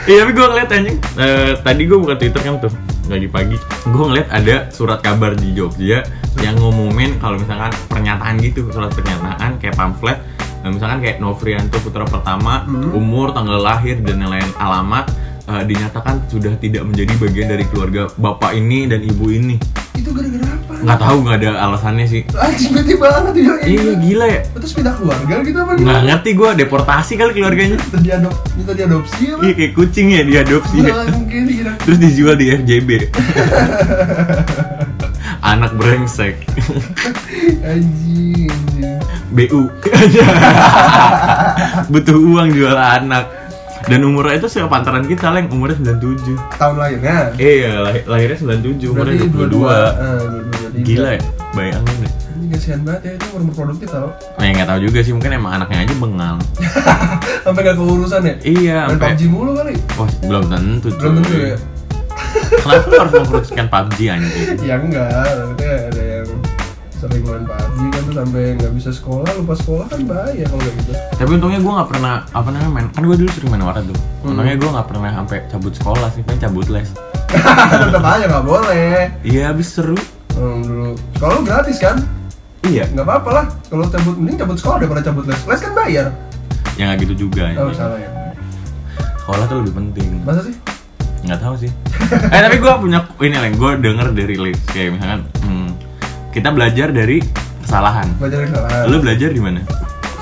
Speaker 2: Iya tapi gue ngeliat anjing Eh, Tadi gue buka Twitter kan tuh Lagi pagi Gue ngeliat ada surat kabar di Jogja Yang ngumumin kalau misalkan pernyataan gitu Surat pernyataan kayak pamflet Eh, Misalkan kayak Novrianto Putra Pertama
Speaker 1: Hmm.
Speaker 2: Umur, tanggal lahir, dan lain-lain alamat eh, Dinyatakan sudah tidak menjadi bagian dari keluarga Bapak ini dan ibu ini
Speaker 1: Itu gara-gara apa?
Speaker 2: nggak tahu nggak ada alasannya sih
Speaker 1: Anjing bete banget dia. gitu.
Speaker 2: Iya Nah. gila ya
Speaker 1: Terus pindah keluarga gitu apa
Speaker 2: Nggak ngerti gue deportasi kali keluarganya
Speaker 1: Kita diadop, kita diadopsi apa?
Speaker 2: Iya kayak kucing ya diadopsi ya.
Speaker 1: Nggak mungkin kira.
Speaker 2: Terus dijual di
Speaker 1: [LAUGHS]
Speaker 2: FJB. Anak brengsek.
Speaker 1: Anjing, anjing.
Speaker 2: BU. [LAUGHS] Butuh uang jual anak. Dan umurnya itu sepantaran kita, Leng. Umurnya 97.
Speaker 1: Tahun lahirnya.
Speaker 2: Iya, lahir, lahirnya 97, umurnya
Speaker 1: Berarti
Speaker 2: 22.
Speaker 1: Eh, 22.
Speaker 2: Gila ya, bayangin deh.
Speaker 1: Anjing kasihan banget ya itu umur produktif tau.
Speaker 2: Nah, ya nggak tahu juga sih, mungkin emang anaknya aja bengal.
Speaker 1: Sampai gak keurusan ya.
Speaker 2: Iya,
Speaker 1: Dan
Speaker 2: sampai
Speaker 1: PUBG mulu kali.
Speaker 2: Wah, belum tentu.
Speaker 1: Belum tentu
Speaker 2: cuy.
Speaker 1: ya.
Speaker 2: Kenapa lu harus memproduksikan PUBG anjing?
Speaker 1: ya enggak maksudnya ada yang sering main PUBG kan tuh sampai nggak bisa sekolah lupa sekolah kan bahaya kalau kayak gitu [LAUGHS]
Speaker 2: Tapi untungnya gue nggak pernah apa namanya main. Kan gue dulu sering main warnet tuh.
Speaker 1: Hmm.
Speaker 2: Untungnya gue nggak pernah sampai cabut sekolah sih, paling cabut les.
Speaker 1: tetap aja nggak boleh
Speaker 2: Iya, habis seru.
Speaker 1: hmm, dulu sekolah lu gratis kan
Speaker 2: Iya.
Speaker 1: nggak apa-apa lah kalau cabut mending cabut sekolah daripada cabut les les kan bayar
Speaker 2: Ya nggak gitu juga.
Speaker 1: oh
Speaker 2: anjing.
Speaker 1: salah ya
Speaker 2: Sekolah tuh lebih penting.
Speaker 1: masa sih
Speaker 2: nggak tahu sih [LAUGHS] eh tapi gue punya ini lah gue denger dari list kayak misalkan hmm, kita belajar dari kesalahan
Speaker 1: belajar kesalahan
Speaker 2: lu belajar di mana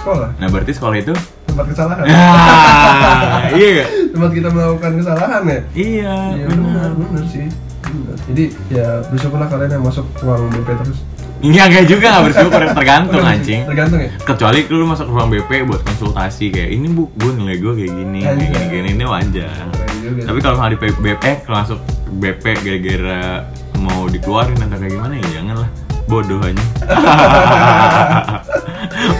Speaker 1: sekolah
Speaker 2: nah berarti sekolah
Speaker 1: [LAUGHS]
Speaker 2: itu
Speaker 1: tempat kesalahan
Speaker 2: Ya. Ah, iya nggak?
Speaker 1: tempat kita melakukan kesalahan ya
Speaker 2: iya
Speaker 1: Iya benar
Speaker 2: benar
Speaker 1: benar sih. Benar. Jadi ya bersyukurlah kalian yang masuk ruang BP terus.
Speaker 2: ini agak juga Iya, nggak bersyukur tergantung
Speaker 1: Benar sih,
Speaker 2: anjing
Speaker 1: Tergantung ya.
Speaker 2: kecuali lu masuk ruang BP buat konsultasi kayak ini bu gue nilai gue kayak gini kayak
Speaker 1: Anjay.
Speaker 2: gini gini ini wajar
Speaker 1: Keren juga.
Speaker 2: tapi kalau misalnya di BP eh, kalau masuk BP gara-gara mau dikeluarin atau kayak gimana ya jangan lah bodoh aja [LAUGHS]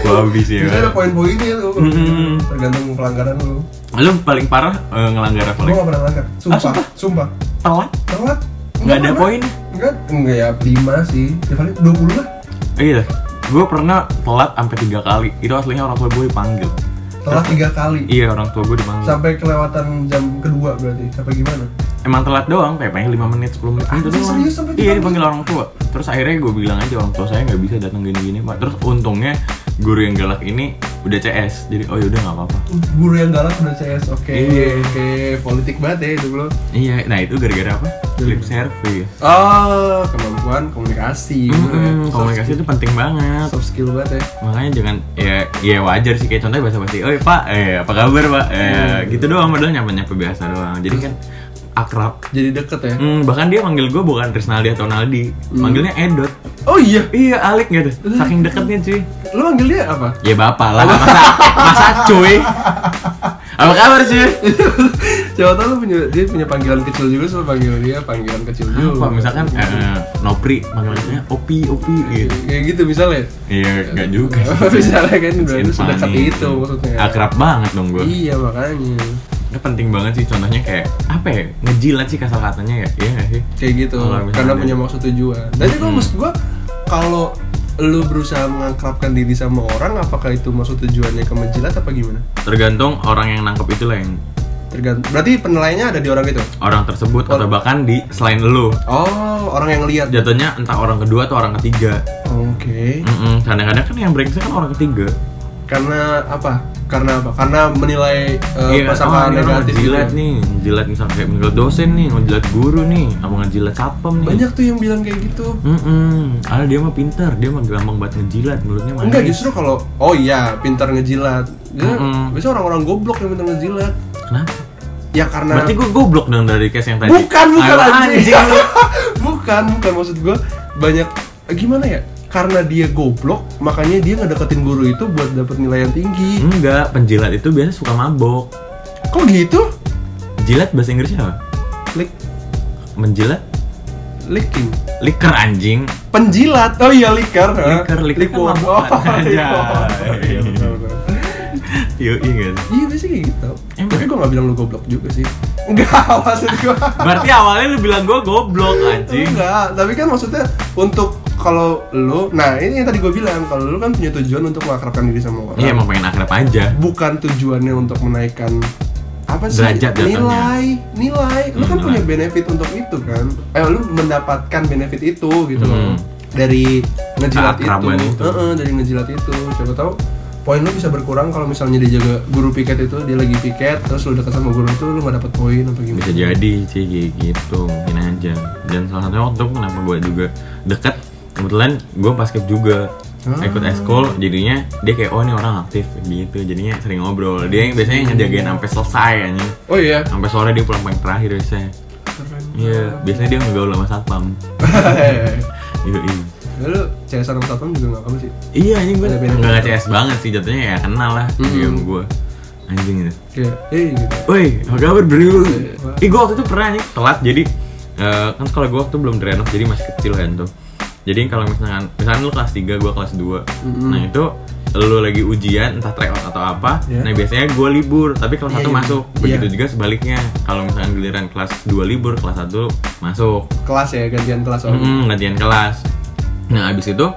Speaker 2: babi sih
Speaker 1: Bisa ada
Speaker 2: ya
Speaker 1: poin-poinnya tuh.
Speaker 2: Mm-mm.
Speaker 1: Tergantung pelanggaran lu.
Speaker 2: lu paling parah eh, ngelanggar apa
Speaker 1: Gua
Speaker 2: lagi
Speaker 1: gak pernah langgar. Sumpah,
Speaker 2: Ah, sumpah?
Speaker 1: sumpah.
Speaker 2: telat
Speaker 1: Telat.
Speaker 2: nggak ada
Speaker 1: pernah.
Speaker 2: poin
Speaker 1: Enggak, enggak ya, 5 sih. Ya paling 20 lah.
Speaker 2: Eh, iya gue pernah telat sampai tiga kali itu aslinya orang tua gue dipanggil
Speaker 1: Telat 3 kali.
Speaker 2: iya orang tua gue dipanggil
Speaker 1: Sampai kelewatan jam kedua berarti. Sampai gimana?
Speaker 2: emang telat doang kayak paling 5 menit 10 menit gitu
Speaker 1: Anjing,
Speaker 2: doang
Speaker 1: Ah, serius sampai
Speaker 2: iya
Speaker 1: dipanggil?
Speaker 2: dipanggil orang tua terus akhirnya gue bilang aja orang tua saya nggak bisa datang gini gini pak terus untungnya guru yang galak ini udah CS jadi oh yaudah nggak apa-apa
Speaker 1: Guru yang galak udah CS, oke,
Speaker 2: Iya.
Speaker 1: oke, politik banget ya itu lo.
Speaker 2: iya nah itu gara-gara apa lip service
Speaker 1: Oh, kemampuan
Speaker 2: Iya,
Speaker 1: komunikasi. gitu ya.
Speaker 2: Mm-mm, komunikasi itu penting banget
Speaker 1: soft skill banget ya.
Speaker 2: makanya jangan ya ya wajar sih kayak contohnya bahasa basi oh pak eh apa kabar pak eh gitu doang padahal nyapa nyapa biasa doang jadi kan akrab
Speaker 1: Jadi deket ya.
Speaker 2: Hmm, bahkan dia manggil gue bukan Krisnaldi atau Naldi manggilnya Edot
Speaker 1: Oh iya,
Speaker 2: Hmm. iya Alik gitu saking deketnya cuy
Speaker 1: lu manggil dia apa?
Speaker 2: Ya bapak lah, masa, masa cuy Apa kabar cuy?
Speaker 1: Siapa tau lu punya, dia punya panggilan kecil juga, so panggil dia panggilan kecil juga Iya,
Speaker 2: Apa misalkan eh, Nopri, panggilannya Opi, Opi gitu
Speaker 1: Kayak gitu misalnya
Speaker 2: Iya, nggak juga
Speaker 1: [LAUGHS] Misalnya kan, berarti
Speaker 2: It's
Speaker 1: sedekat
Speaker 2: funny.
Speaker 1: itu maksudnya
Speaker 2: Akrab banget dong gue
Speaker 1: Iya makanya
Speaker 2: Ini penting banget sih, contohnya kayak Apa ya, ngejilat sih kasar katanya ya Iya nggak sih?
Speaker 1: Kayak gitu,
Speaker 2: Kalau misalnya
Speaker 1: karena
Speaker 2: dia- Hmm.
Speaker 1: punya maksud tujuan Dan itu maksud gua, kalau lu berusaha mengakrabkan diri sama orang, apakah itu maksud tujuannya ke menjilat apa gimana?
Speaker 2: Tergantung orang yang nangkep itu lah yang
Speaker 1: Tergantung, berarti penilaiannya ada di orang itu?
Speaker 2: Orang tersebut atau bahkan di selain lu
Speaker 1: Oh, orang yang lihat
Speaker 2: Jatuhnya entah orang kedua atau orang ketiga
Speaker 1: Oke
Speaker 2: Mm-mm, Kadang-kadang kan yang brengsek kan orang ketiga
Speaker 1: karena apa karena apa karena menilai uh,
Speaker 2: Iya,
Speaker 1: pasangan
Speaker 2: oh, ini orang
Speaker 1: negatif
Speaker 2: ngejilat
Speaker 1: gitu.
Speaker 2: nih, ngejilat misalnya kayak ngejilat dosen nih, ngejilat guru nih, apa ngejilat satpam nih.
Speaker 1: banyak tuh yang bilang kayak gitu
Speaker 2: Mm-mm. Ada dia mah pintar, dia mah gampang banget ngejilat mulutnya gitu. manis.
Speaker 1: enggak justru kalau oh iya pintar ngejilat ya,
Speaker 2: Mm-mm.
Speaker 1: biasanya orang-orang goblok yang pintar ngejilat
Speaker 2: Kenapa?
Speaker 1: ya karena
Speaker 2: Berarti gue goblok dong dari case yang tadi.
Speaker 1: bukan bukan
Speaker 2: Ah,
Speaker 1: anjing,
Speaker 2: anjing.
Speaker 1: [LAUGHS] bukan bukan maksud gue banyak gimana ya karena dia goblok makanya dia ngedeketin guru itu buat dapet nilai yang tinggi
Speaker 2: Enggak, penjilat itu biasa suka mabok.
Speaker 1: kok gitu
Speaker 2: Jilat bahasa Inggrisnya apa?
Speaker 1: Lick,
Speaker 2: Menjilat?
Speaker 1: licking
Speaker 2: Liker anjing. [LAUGHS]
Speaker 1: penjilat oh iya liker
Speaker 2: Liker, liker kan
Speaker 1: Liquor.
Speaker 2: mabuk.
Speaker 1: Oh, iya.
Speaker 2: Anjay.
Speaker 1: Iya, betul-betul.
Speaker 2: Yoi enggak. sih?
Speaker 1: Iya biasanya kayak gitu
Speaker 2: Emang?
Speaker 1: Tapi gue gak bilang lu goblok juga sih Enggak [LAUGHS] maksud gue
Speaker 2: Berarti awalnya lu bilang gue goblok anjing.
Speaker 1: Enggak Tapi kan maksudnya untuk kalau lu Nah ini yang tadi gue bilang Kalau lu kan punya tujuan untuk mengakrabkan diri sama orang
Speaker 2: Iya, emang pengen akrab aja.
Speaker 1: Bukan tujuannya untuk menaikkan apa sih
Speaker 2: Derajat jatuhnya.
Speaker 1: nilai nilai lu
Speaker 2: Hmm,
Speaker 1: kan
Speaker 2: nilai.
Speaker 1: punya benefit untuk itu kan eh lu mendapatkan benefit itu gitu loh
Speaker 2: Hmm.
Speaker 1: dari ngejilat itu,
Speaker 2: Keakraban itu.
Speaker 1: Heeh, dari ngejilat itu coba tahu poin lu bisa berkurang kalau misalnya dia jaga guru piket itu dia lagi piket terus lu deket sama guru itu lu gak dapet poin atau gimana
Speaker 2: bisa jadi sih kayak gitu mungkin aja dan salah satunya waktu itu kenapa gue juga deket kebetulan gue basket juga
Speaker 1: Ah.
Speaker 2: ikut eskol jadinya dia kayak oh ini orang aktif gitu jadinya sering ngobrol dia yang biasanya ngejagain sampai selesai aja
Speaker 1: oh iya
Speaker 2: sampai sore dia pulang paling terakhir biasanya iya
Speaker 1: [LAUGHS]
Speaker 2: biasanya dia ngegaul sama satpam iya iya
Speaker 1: Ya, lu CS sama satpam juga gak kamu sih
Speaker 2: iya anjing gue
Speaker 1: Ada beda.
Speaker 2: nggak CS banget sih jatuhnya ya kenal lah game gue anjing gitu
Speaker 1: kayak eh gitu
Speaker 2: Woi, apa kabar bro? Ih, gue waktu itu pernah nih Iya. telat jadi eh, kan sekolah gue waktu belum direnov jadi masih kecil kan tuh. Jadi kalau misalkan misalkan lu kelas 3, gue kelas 2. Nah, itu lu lagi ujian entah tryout atau apa
Speaker 1: Iya.
Speaker 2: nah biasanya gue libur tapi kelas
Speaker 1: Iya,
Speaker 2: satu
Speaker 1: iya.
Speaker 2: masuk
Speaker 1: Iya.
Speaker 2: begitu juga sebaliknya kalau misalkan giliran kelas 2 libur kelas 1 masuk
Speaker 1: kelas ya gantian kelas soalnya
Speaker 2: Hmm, gantian kelas. Nah, abis itu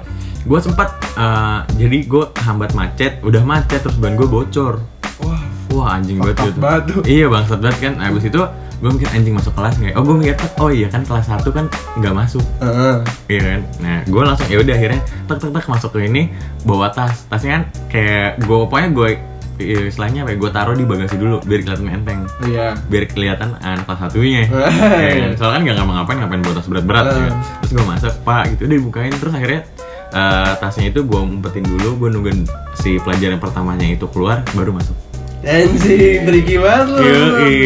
Speaker 2: gue sempat eh, jadi gue hambat macet, udah macet terus ban gue bocor.
Speaker 1: wah
Speaker 2: Wah anjing banget
Speaker 1: Bangsat
Speaker 2: gitu.
Speaker 1: banget tuh.
Speaker 2: Iya bangsat banget kan. Nah, abis itu gue mikir anjing masuk kelas nggak? ya? Oh gue mikir oh iya kan kelas 1 kan nggak masuk.
Speaker 1: Heeh.
Speaker 2: Iya kan. Nah gue langsung ya udah akhirnya tek tek tek masuk ke ini bawa tas. Tasnya kan kayak gue pokoknya gue iya, istilahnya apa? Gue taruh di bagasi dulu biar kelihatan enteng
Speaker 1: iya
Speaker 2: biar kelihatan anak kelas satunya ya kan? soalnya kan gak ngapa-ngapain ngapain bawa tas berat-berat ya kan? terus gue masak pak gitu udah dibukain terus akhirnya eh, tasnya itu gue umpetin dulu gue nungguin si pelajaran pertamanya itu keluar baru masuk
Speaker 1: anjing tricky banget lu iya.
Speaker 2: Yoi.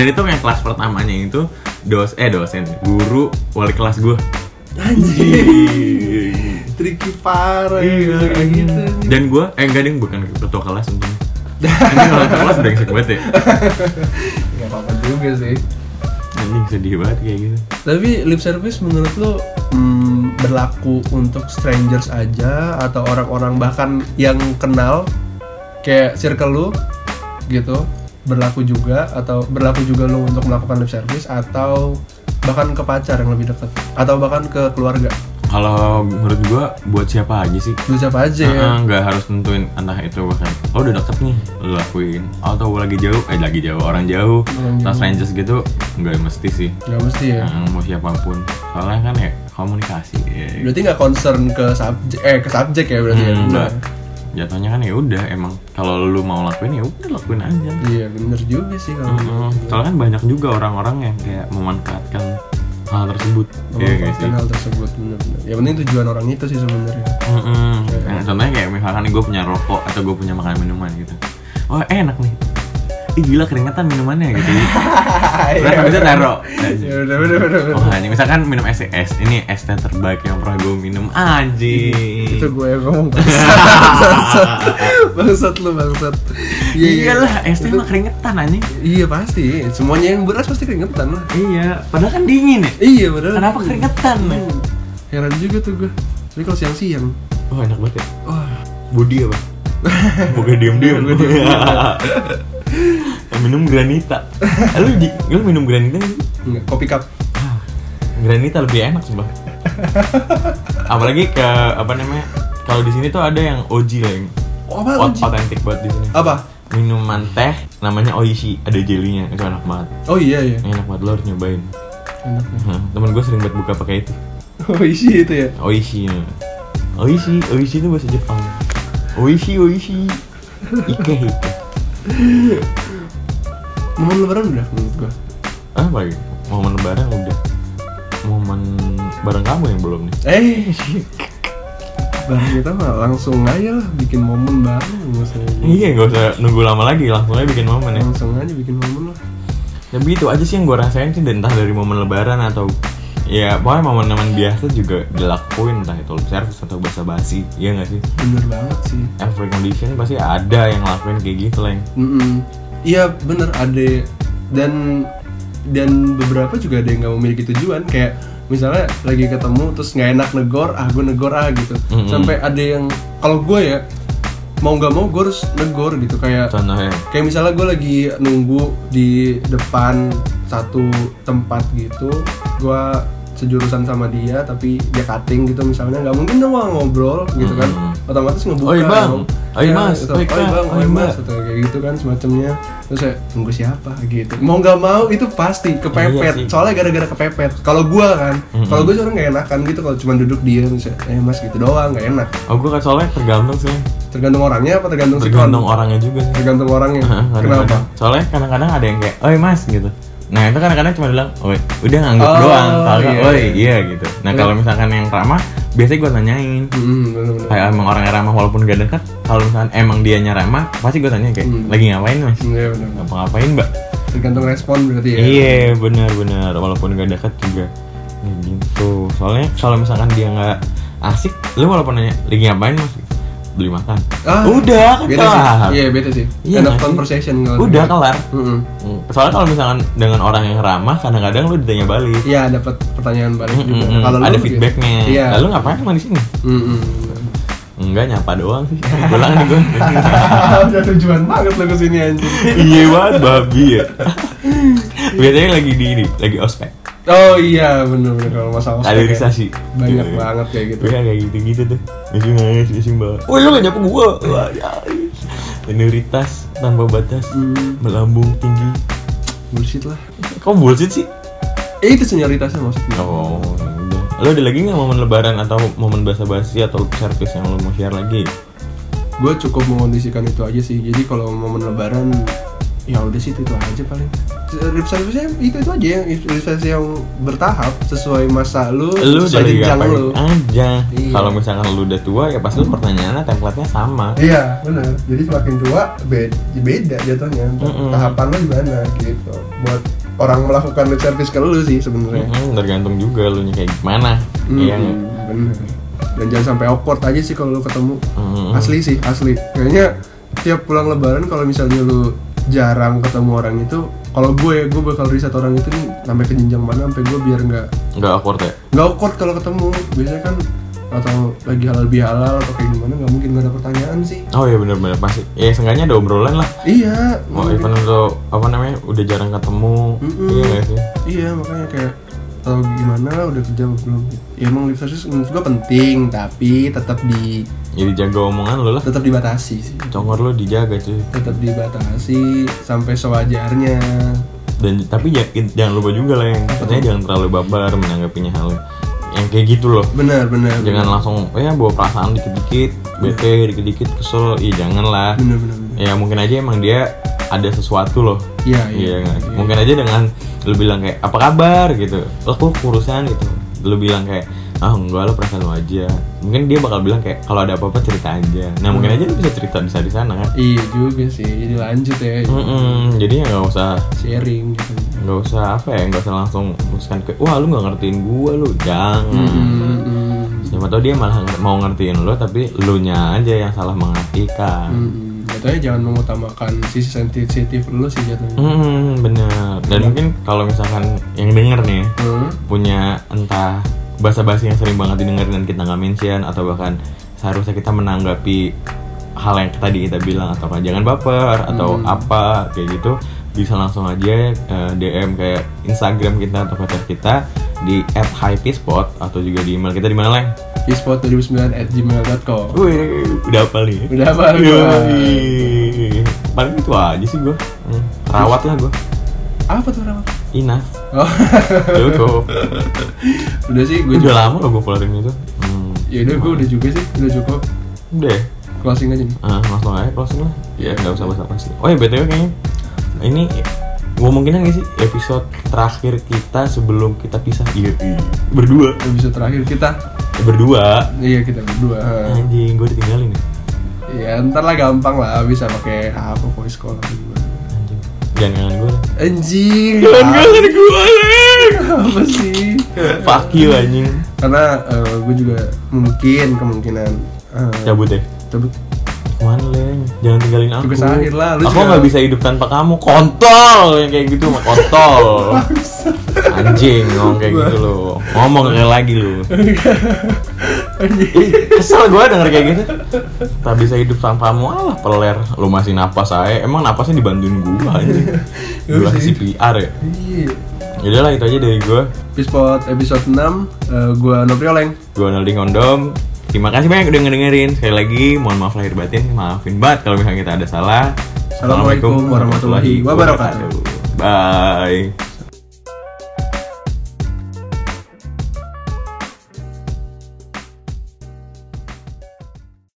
Speaker 2: dan itu yang kelas pertamanya itu dos eh dosen guru wali kelas gue
Speaker 1: anjing tricky parah
Speaker 2: Iya,
Speaker 1: gitu kayak gitu
Speaker 2: dan gue eh enggak ding bukan ketua kelas untungnya ini kalau ketua kelas brengsek banget ya
Speaker 1: nggak apa-apa juga sih
Speaker 2: anjing sedih banget kayak gitu
Speaker 1: tapi lip service menurut lo hmm, berlaku untuk strangers aja atau orang-orang bahkan yang kenal kayak circle lu gitu berlaku juga atau berlaku juga lo untuk melakukan lip service atau bahkan ke pacar yang lebih dekat atau bahkan ke keluarga
Speaker 2: kalau menurut gue buat siapa aja sih
Speaker 1: lu siapa aja ya
Speaker 2: Heeh, nggak harus tentuin entah itu bahkan oh udah deket nih lo lakuin atau lagi jauh eh lagi jauh orang jauh
Speaker 1: Orang
Speaker 2: Los
Speaker 1: jauh.
Speaker 2: Angeles gitu nggak mesti sih
Speaker 1: nggak mesti Hmm. ya
Speaker 2: Heeh, mau siapapun soalnya kan ya komunikasi ya.
Speaker 1: berarti nggak concern ke subjek eh ke subjek ya berarti ya
Speaker 2: Hmm,
Speaker 1: Benar.
Speaker 2: nggak. jatuhnya kan ya udah emang kalau lu mau lakuin ya udah lakuin aja
Speaker 1: iya bener juga sih kalau gitu.
Speaker 2: Heeh, soalnya kan banyak juga orang-orang yang kayak memanfaatkan hal tersebut Iya nggak sih
Speaker 1: memanfaatkan hal tersebut bener-bener ya penting tujuan orang itu sih sebenarnya
Speaker 2: Heeh. Nah, contohnya kayak misalkan gue punya rokok atau gue punya makanan minuman gitu. Oh enak nih. Ih gila keringetan minumannya
Speaker 1: [LAUGHS]
Speaker 2: gitu. Terus habis itu taruh.
Speaker 1: ya udah Iya, bener bener bener.
Speaker 2: Oh anjing, misalkan minum es es ini es teh terbaik yang pernah gue minum
Speaker 1: itu
Speaker 2: anjing.
Speaker 1: gue yang
Speaker 2: [LAUGHS]
Speaker 1: ngomong bangsat bangsat lu bangsat Iya, iya.
Speaker 2: Iyalah es teh
Speaker 1: Itu-
Speaker 2: mah keringetan anjing.
Speaker 1: iya pasti semuanya yang beras pasti keringetan lah
Speaker 2: Iya, padahal kan dingin ya.
Speaker 1: iya bener
Speaker 2: Kenapa keringetan? ya?
Speaker 1: Hmm. heran juga tuh gue tapi kalau siang siang
Speaker 2: Oh enak banget ya.
Speaker 1: wah
Speaker 2: Body
Speaker 1: [LAUGHS]
Speaker 2: apa? Boga diem diem.
Speaker 1: Boga diem-diem.
Speaker 2: [LAUGHS] minum granita. Eh, Lu, di- lu minum granita nggak sih?
Speaker 1: enggak kopi cup
Speaker 2: Ah, Granita lebih enak sumpah. Apalagi ke apa namanya? Kalau di sini tuh ada yang OG lah yang
Speaker 1: oh, apa
Speaker 2: ot-
Speaker 1: Uji?
Speaker 2: otentik banget di sini.
Speaker 1: apa
Speaker 2: Minuman teh namanya Oishi, ada jelinya. Itu enak banget.
Speaker 1: oh iya iya
Speaker 2: Enak banget lo harus nyobain.
Speaker 1: enak ya.
Speaker 2: Hah, Temen gue sering banget buka pakai itu.
Speaker 1: oh isi itu ya
Speaker 2: Oishi. namanya. Oishi, Oishi itu bahasa Jepang. Oishi, Oishi. Ike, Ike.
Speaker 1: momen lebaran udah menurut gue
Speaker 2: Ah, apa lagi? Momen lebaran udah. Momen bareng kamu yang belum nih.
Speaker 1: eh barang kita mah langsung aja lah bikin momen bareng maksudnya
Speaker 2: Iya, gak usah nunggu lama lagi, langsung aja bikin momen ya.
Speaker 1: langsung aja bikin momen lah
Speaker 2: Tapi itu Ya, aja sih yang gue rasain sih entah dari momen lebaran atau ya pokoknya momen-momen biasa juga dilakuin entah itu lip service atau basa-basi iya nggak sih
Speaker 1: bener banget sih
Speaker 2: every condition pasti ada yang ngelakuin kayak gitu lah
Speaker 1: Mm-mm. Iya bener ada dan dan beberapa juga ada yang nggak memiliki tujuan kayak misalnya lagi ketemu terus nggak enak negor ah gue negor ah gitu
Speaker 2: Mm-mm.
Speaker 1: sampai ada yang kalau gue ya mau nggak mau gue harus negor gitu kayak
Speaker 2: contohnya
Speaker 1: kayak misalnya gue lagi nunggu di depan satu tempat gitu gue sejurusan sama dia tapi dia cutting gitu misalnya nggak mungkin dong gua ngobrol gitu kan
Speaker 2: Mm.
Speaker 1: otomatis ngebuka
Speaker 2: Oi, Bang.
Speaker 1: dong.
Speaker 2: Oi,
Speaker 1: Ya,
Speaker 2: Mas.
Speaker 1: atau,
Speaker 2: Oi,
Speaker 1: oi
Speaker 2: Kak.
Speaker 1: bang
Speaker 2: Oi,
Speaker 1: oi mas
Speaker 2: Mbak.
Speaker 1: atau kayak gitu kan semacamnya terus saya nunggu siapa gitu mau nggak mau itu pasti kepepet
Speaker 2: Iya sih.
Speaker 1: soalnya gara-gara kepepet kalau gue kan
Speaker 2: Mm-mm.
Speaker 1: kalau gue seorang nggak enakan gitu kalau cuma duduk diam saya, eh mas gitu doang nggak enak
Speaker 2: oh gue kan soalnya tergantung sih
Speaker 1: tergantung orangnya apa tergantung si kon?
Speaker 2: tergantung orangnya juga sih [LAUGHS]
Speaker 1: tergantung orangnya
Speaker 2: Kadang-kadang.
Speaker 1: kenapa
Speaker 2: soalnya kadang-kadang ada yang kayak oi mas gitu nah itu kadang-kadang cuma bilang oi udah ngangguk
Speaker 1: Oh,
Speaker 2: doang kalau nggak,
Speaker 1: iya.
Speaker 2: oi iya gitu nah
Speaker 1: Iya.
Speaker 2: kalau misalkan yang ramah biasanya gue tanyain
Speaker 1: Hmm, bener-bener.
Speaker 2: kayak ah, emang orang yang ramah walaupun gak dekat kalau misalkan emang dianya ramah pasti gue tanya kayak
Speaker 1: Hmm.
Speaker 2: lagi ngapain mas
Speaker 1: Iya, bener-bener.
Speaker 2: ngapa ngapain mbak
Speaker 1: Tergantung respon berarti ya.
Speaker 2: iya benar benar walaupun gak dekat juga ya, gitu soalnya kalau misalkan dia nggak asik lu walaupun nanya lagi ngapain mas beli makan
Speaker 1: Ah,
Speaker 2: udah kan
Speaker 1: Beda sih.
Speaker 2: kelar
Speaker 1: Iya, beda sih.
Speaker 2: Iya,
Speaker 1: End of
Speaker 2: nggak sih?
Speaker 1: conversation kalau
Speaker 2: udah
Speaker 1: gitu.
Speaker 2: kelar
Speaker 1: Mm-mm.
Speaker 2: Hmm, soalnya kalau misalkan dengan orang yang ramah kadang-kadang lu ditanya balik
Speaker 1: Iya, dapat pertanyaan balik
Speaker 2: Mm,
Speaker 1: juga.
Speaker 2: mm, mm.
Speaker 1: Kalau lu
Speaker 2: ada
Speaker 1: gitu.
Speaker 2: feedbacknya
Speaker 1: Iya.
Speaker 2: lalu ngapain emang di sini
Speaker 1: Mm-mm. [LAUGHS]
Speaker 2: Hmm, enggak nyapa doang sih pulang nih gue
Speaker 1: [LAUGHS] Udah tujuan banget lo kesini anjing.
Speaker 2: iya banget babi ya biasanya lagi di ini lagi ospek
Speaker 1: Oh iya bener-bener kalau masalah
Speaker 2: kaderisasi
Speaker 1: ya? Banyak
Speaker 2: Iya.
Speaker 1: banget kayak gitu.
Speaker 2: gue kan kayak gitu gitu tuh masih nangis masih mbak wah lu gak nyapa gue Wah, ya. minoritas tanpa batas
Speaker 1: Hmm.
Speaker 2: melambung tinggi
Speaker 1: Bullshit lah.
Speaker 2: kok bullshit sih
Speaker 1: Eh, itu senioritasnya maksudnya.
Speaker 2: oh yaudah. lo ada lagi nggak momen lebaran atau momen basa-basi atau lip service yang lo mau share lagi
Speaker 1: Gue cukup mengondisikan itu aja sih. Jadi kalau momen lebaran ya udah sih itu, itu aja paling. Lip service-nya itu itu aja yang lip service yang bertahap sesuai masa lu,
Speaker 2: lu
Speaker 1: sesuai
Speaker 2: dari
Speaker 1: jenjang
Speaker 2: ngapain Ah.
Speaker 1: lu.
Speaker 2: aja
Speaker 1: Iya. Hmm.
Speaker 2: kalau misalkan lu udah tua ya pasti lu pertanyaannya template-nya sama
Speaker 1: Iya, benar. Jadi semakin tua beda, beda jatuhnya.
Speaker 2: Mm-mm.
Speaker 1: Tahapan lu gimana gitu. Buat orang melakukan lip service ke lu sih sebenarnya.
Speaker 2: Mm-mm, Hmm, tergantung juga lu kayak gimana
Speaker 1: Iya.
Speaker 2: iya nggak?
Speaker 1: Hmm, bener. Dan jangan sampai awkward aja sih kalau lu ketemu.
Speaker 2: Mm-mm.
Speaker 1: Asli sih, asli. Kayaknya tiap pulang lebaran kalau misalnya lu jarang ketemu orang itu, kalau gue gue bakal riset orang itu nih sampai ke jenjang mana sampai gue biar nggak
Speaker 2: nggak awkward ya
Speaker 1: nggak awkward kalau ketemu. Biasanya kan atau lagi halal bihalal atau kayak gimana nggak mungkin nggak ada pertanyaan sih.
Speaker 2: oh iya benar-benar pasti ya seenggaknya ada obrolan lah
Speaker 1: Iya.
Speaker 2: mau
Speaker 1: mungkin.
Speaker 2: event untuk apa namanya udah jarang ketemu
Speaker 1: Mm-mm.
Speaker 2: iya nggak sih
Speaker 1: Iya makanya kayak atau gimana lah udah kerja apa belum? Ya emang lip service menurut gue penting tapi tetap di
Speaker 2: jadi jaga Ya, omongan lu lah
Speaker 1: tetap dibatasi sih.
Speaker 2: congor lu dijaga cuy
Speaker 1: tetap dibatasi sampai sewajarnya
Speaker 2: dan tapi ja- jangan lupa juga lah yang katanya jangan terlalu babar menanggapinya hal yang kayak gitu loh
Speaker 1: benar benar
Speaker 2: jangan langsung ya bawa perasaan dikit-dikit bete dikit-dikit kesel iya jangan lah
Speaker 1: benar benar benar.
Speaker 2: ya mungkin aja emang dia ada sesuatu loh
Speaker 1: iya
Speaker 2: iya nggak? mungkin aja dengan lu bilang kayak apa kabar gitu lo kok urusan gitu lu bilang kayak ah enggak lo perasaan lu aja mungkin dia bakal bilang kayak kalau ada apa-apa cerita aja nah mungkin aja lu bisa cerita bisa di sana kan
Speaker 1: iya juga sih jadi lanjut ya
Speaker 2: Mm-mm, jadi ya nggak usah
Speaker 1: sharing gitu
Speaker 2: nggak usah apa ya nggak usah langsung memutuskan kayak wah lu nggak ngertiin gua lu
Speaker 1: Hmm,
Speaker 2: jangan
Speaker 1: Mm-mm.
Speaker 2: siapa tau dia malah nger- mau ngertiin lo tapi lu nya aja yang salah mengartikan
Speaker 1: Mm-mm. hmm. Jatuhnya jangan mengutamakan sisi sensitif lu sih jatuhnya
Speaker 2: Mm-mm, bener dan mungkin kalau misalkan yang denger nih
Speaker 1: Hmm.
Speaker 2: punya entah bahasa-bahasa yang sering banget didengerin dan kita nggak mention atau bahkan seharusnya kita menanggapi hal yang tadi kita bilang atau kan jangan baper atau apa kayak gitu bisa langsung aja eh, DM kayak Instagram kita atau Twitter kita di @hypespot atau juga di email kita di mana leng?
Speaker 1: eSport 2009 at gmail.com
Speaker 2: Wih, udah apa nih?
Speaker 1: Udah hafal gua.
Speaker 2: Yoi. Paling itu aja sih gua. Hmm, Rawat lah gua.
Speaker 1: apa tuh nama
Speaker 2: [LAUGHS] Enough.
Speaker 1: oh [LAUGHS]
Speaker 2: Cukup.
Speaker 1: udah sih gue
Speaker 2: udah
Speaker 1: juga
Speaker 2: lama loh gua pelarin itu. Hmm.
Speaker 1: ya udah gue udah juga sih udah cukup
Speaker 2: Udah.
Speaker 1: closing aja nih
Speaker 2: Ah, langsung aja closing lah. Ya,
Speaker 1: Iya.
Speaker 2: nggak usah basa basi. Oh ya, btw kayaknya Nah, ini ngomongin nggak sih episode terakhir kita sebelum kita pisah? Iya, iya. berdua,
Speaker 1: episode terakhir kita
Speaker 2: Eh, berdua.
Speaker 1: iya kita berdua Hmm.
Speaker 2: Anjing, gue ditinggalin ya.
Speaker 1: Ya ntar lah gampang lah bisa pakai apa voice call atau gimana.
Speaker 2: Anjing, jangan kangen gue.
Speaker 1: Anjing.
Speaker 2: Jangan kangen gue.
Speaker 1: Apa sih?
Speaker 2: Fuck you anjing.
Speaker 1: Karena gue juga mungkin kemungkinan eh,
Speaker 2: Cabut deh.
Speaker 1: [LAUGHS] cabut.
Speaker 2: Kemana leng? Jangan tinggalin aku.
Speaker 1: Tugas akhir lah, lu
Speaker 2: aku
Speaker 1: juga-
Speaker 2: nggak bisa hidup tanpa kamu. Kontol yang kayak gitu, mah [LAUGHS] kontol. Anjing ngomong kayak gitu lo. Ngomong kayak lagi lo.
Speaker 1: Anjing.
Speaker 2: Ih, kesel gue denger kayak gitu tak bisa hidup tanpamu alah peler lu masih napas aja emang napasnya dibantuin gue aja
Speaker 1: Nggak
Speaker 2: gue
Speaker 1: bisa hidup.
Speaker 2: CPR ya
Speaker 1: Iya.
Speaker 2: yaudah lah itu aja dari gue
Speaker 1: Pispot episode 6 gue Nopri Oleng.
Speaker 2: gue Naldi Ngondom terima kasih banyak udah ngedengerin sekali lagi mohon maaf lahir batin maafin banget kalau misalnya kita ada salah
Speaker 1: Assalamualaikum warahmatullahi wabarakatuh.
Speaker 2: bye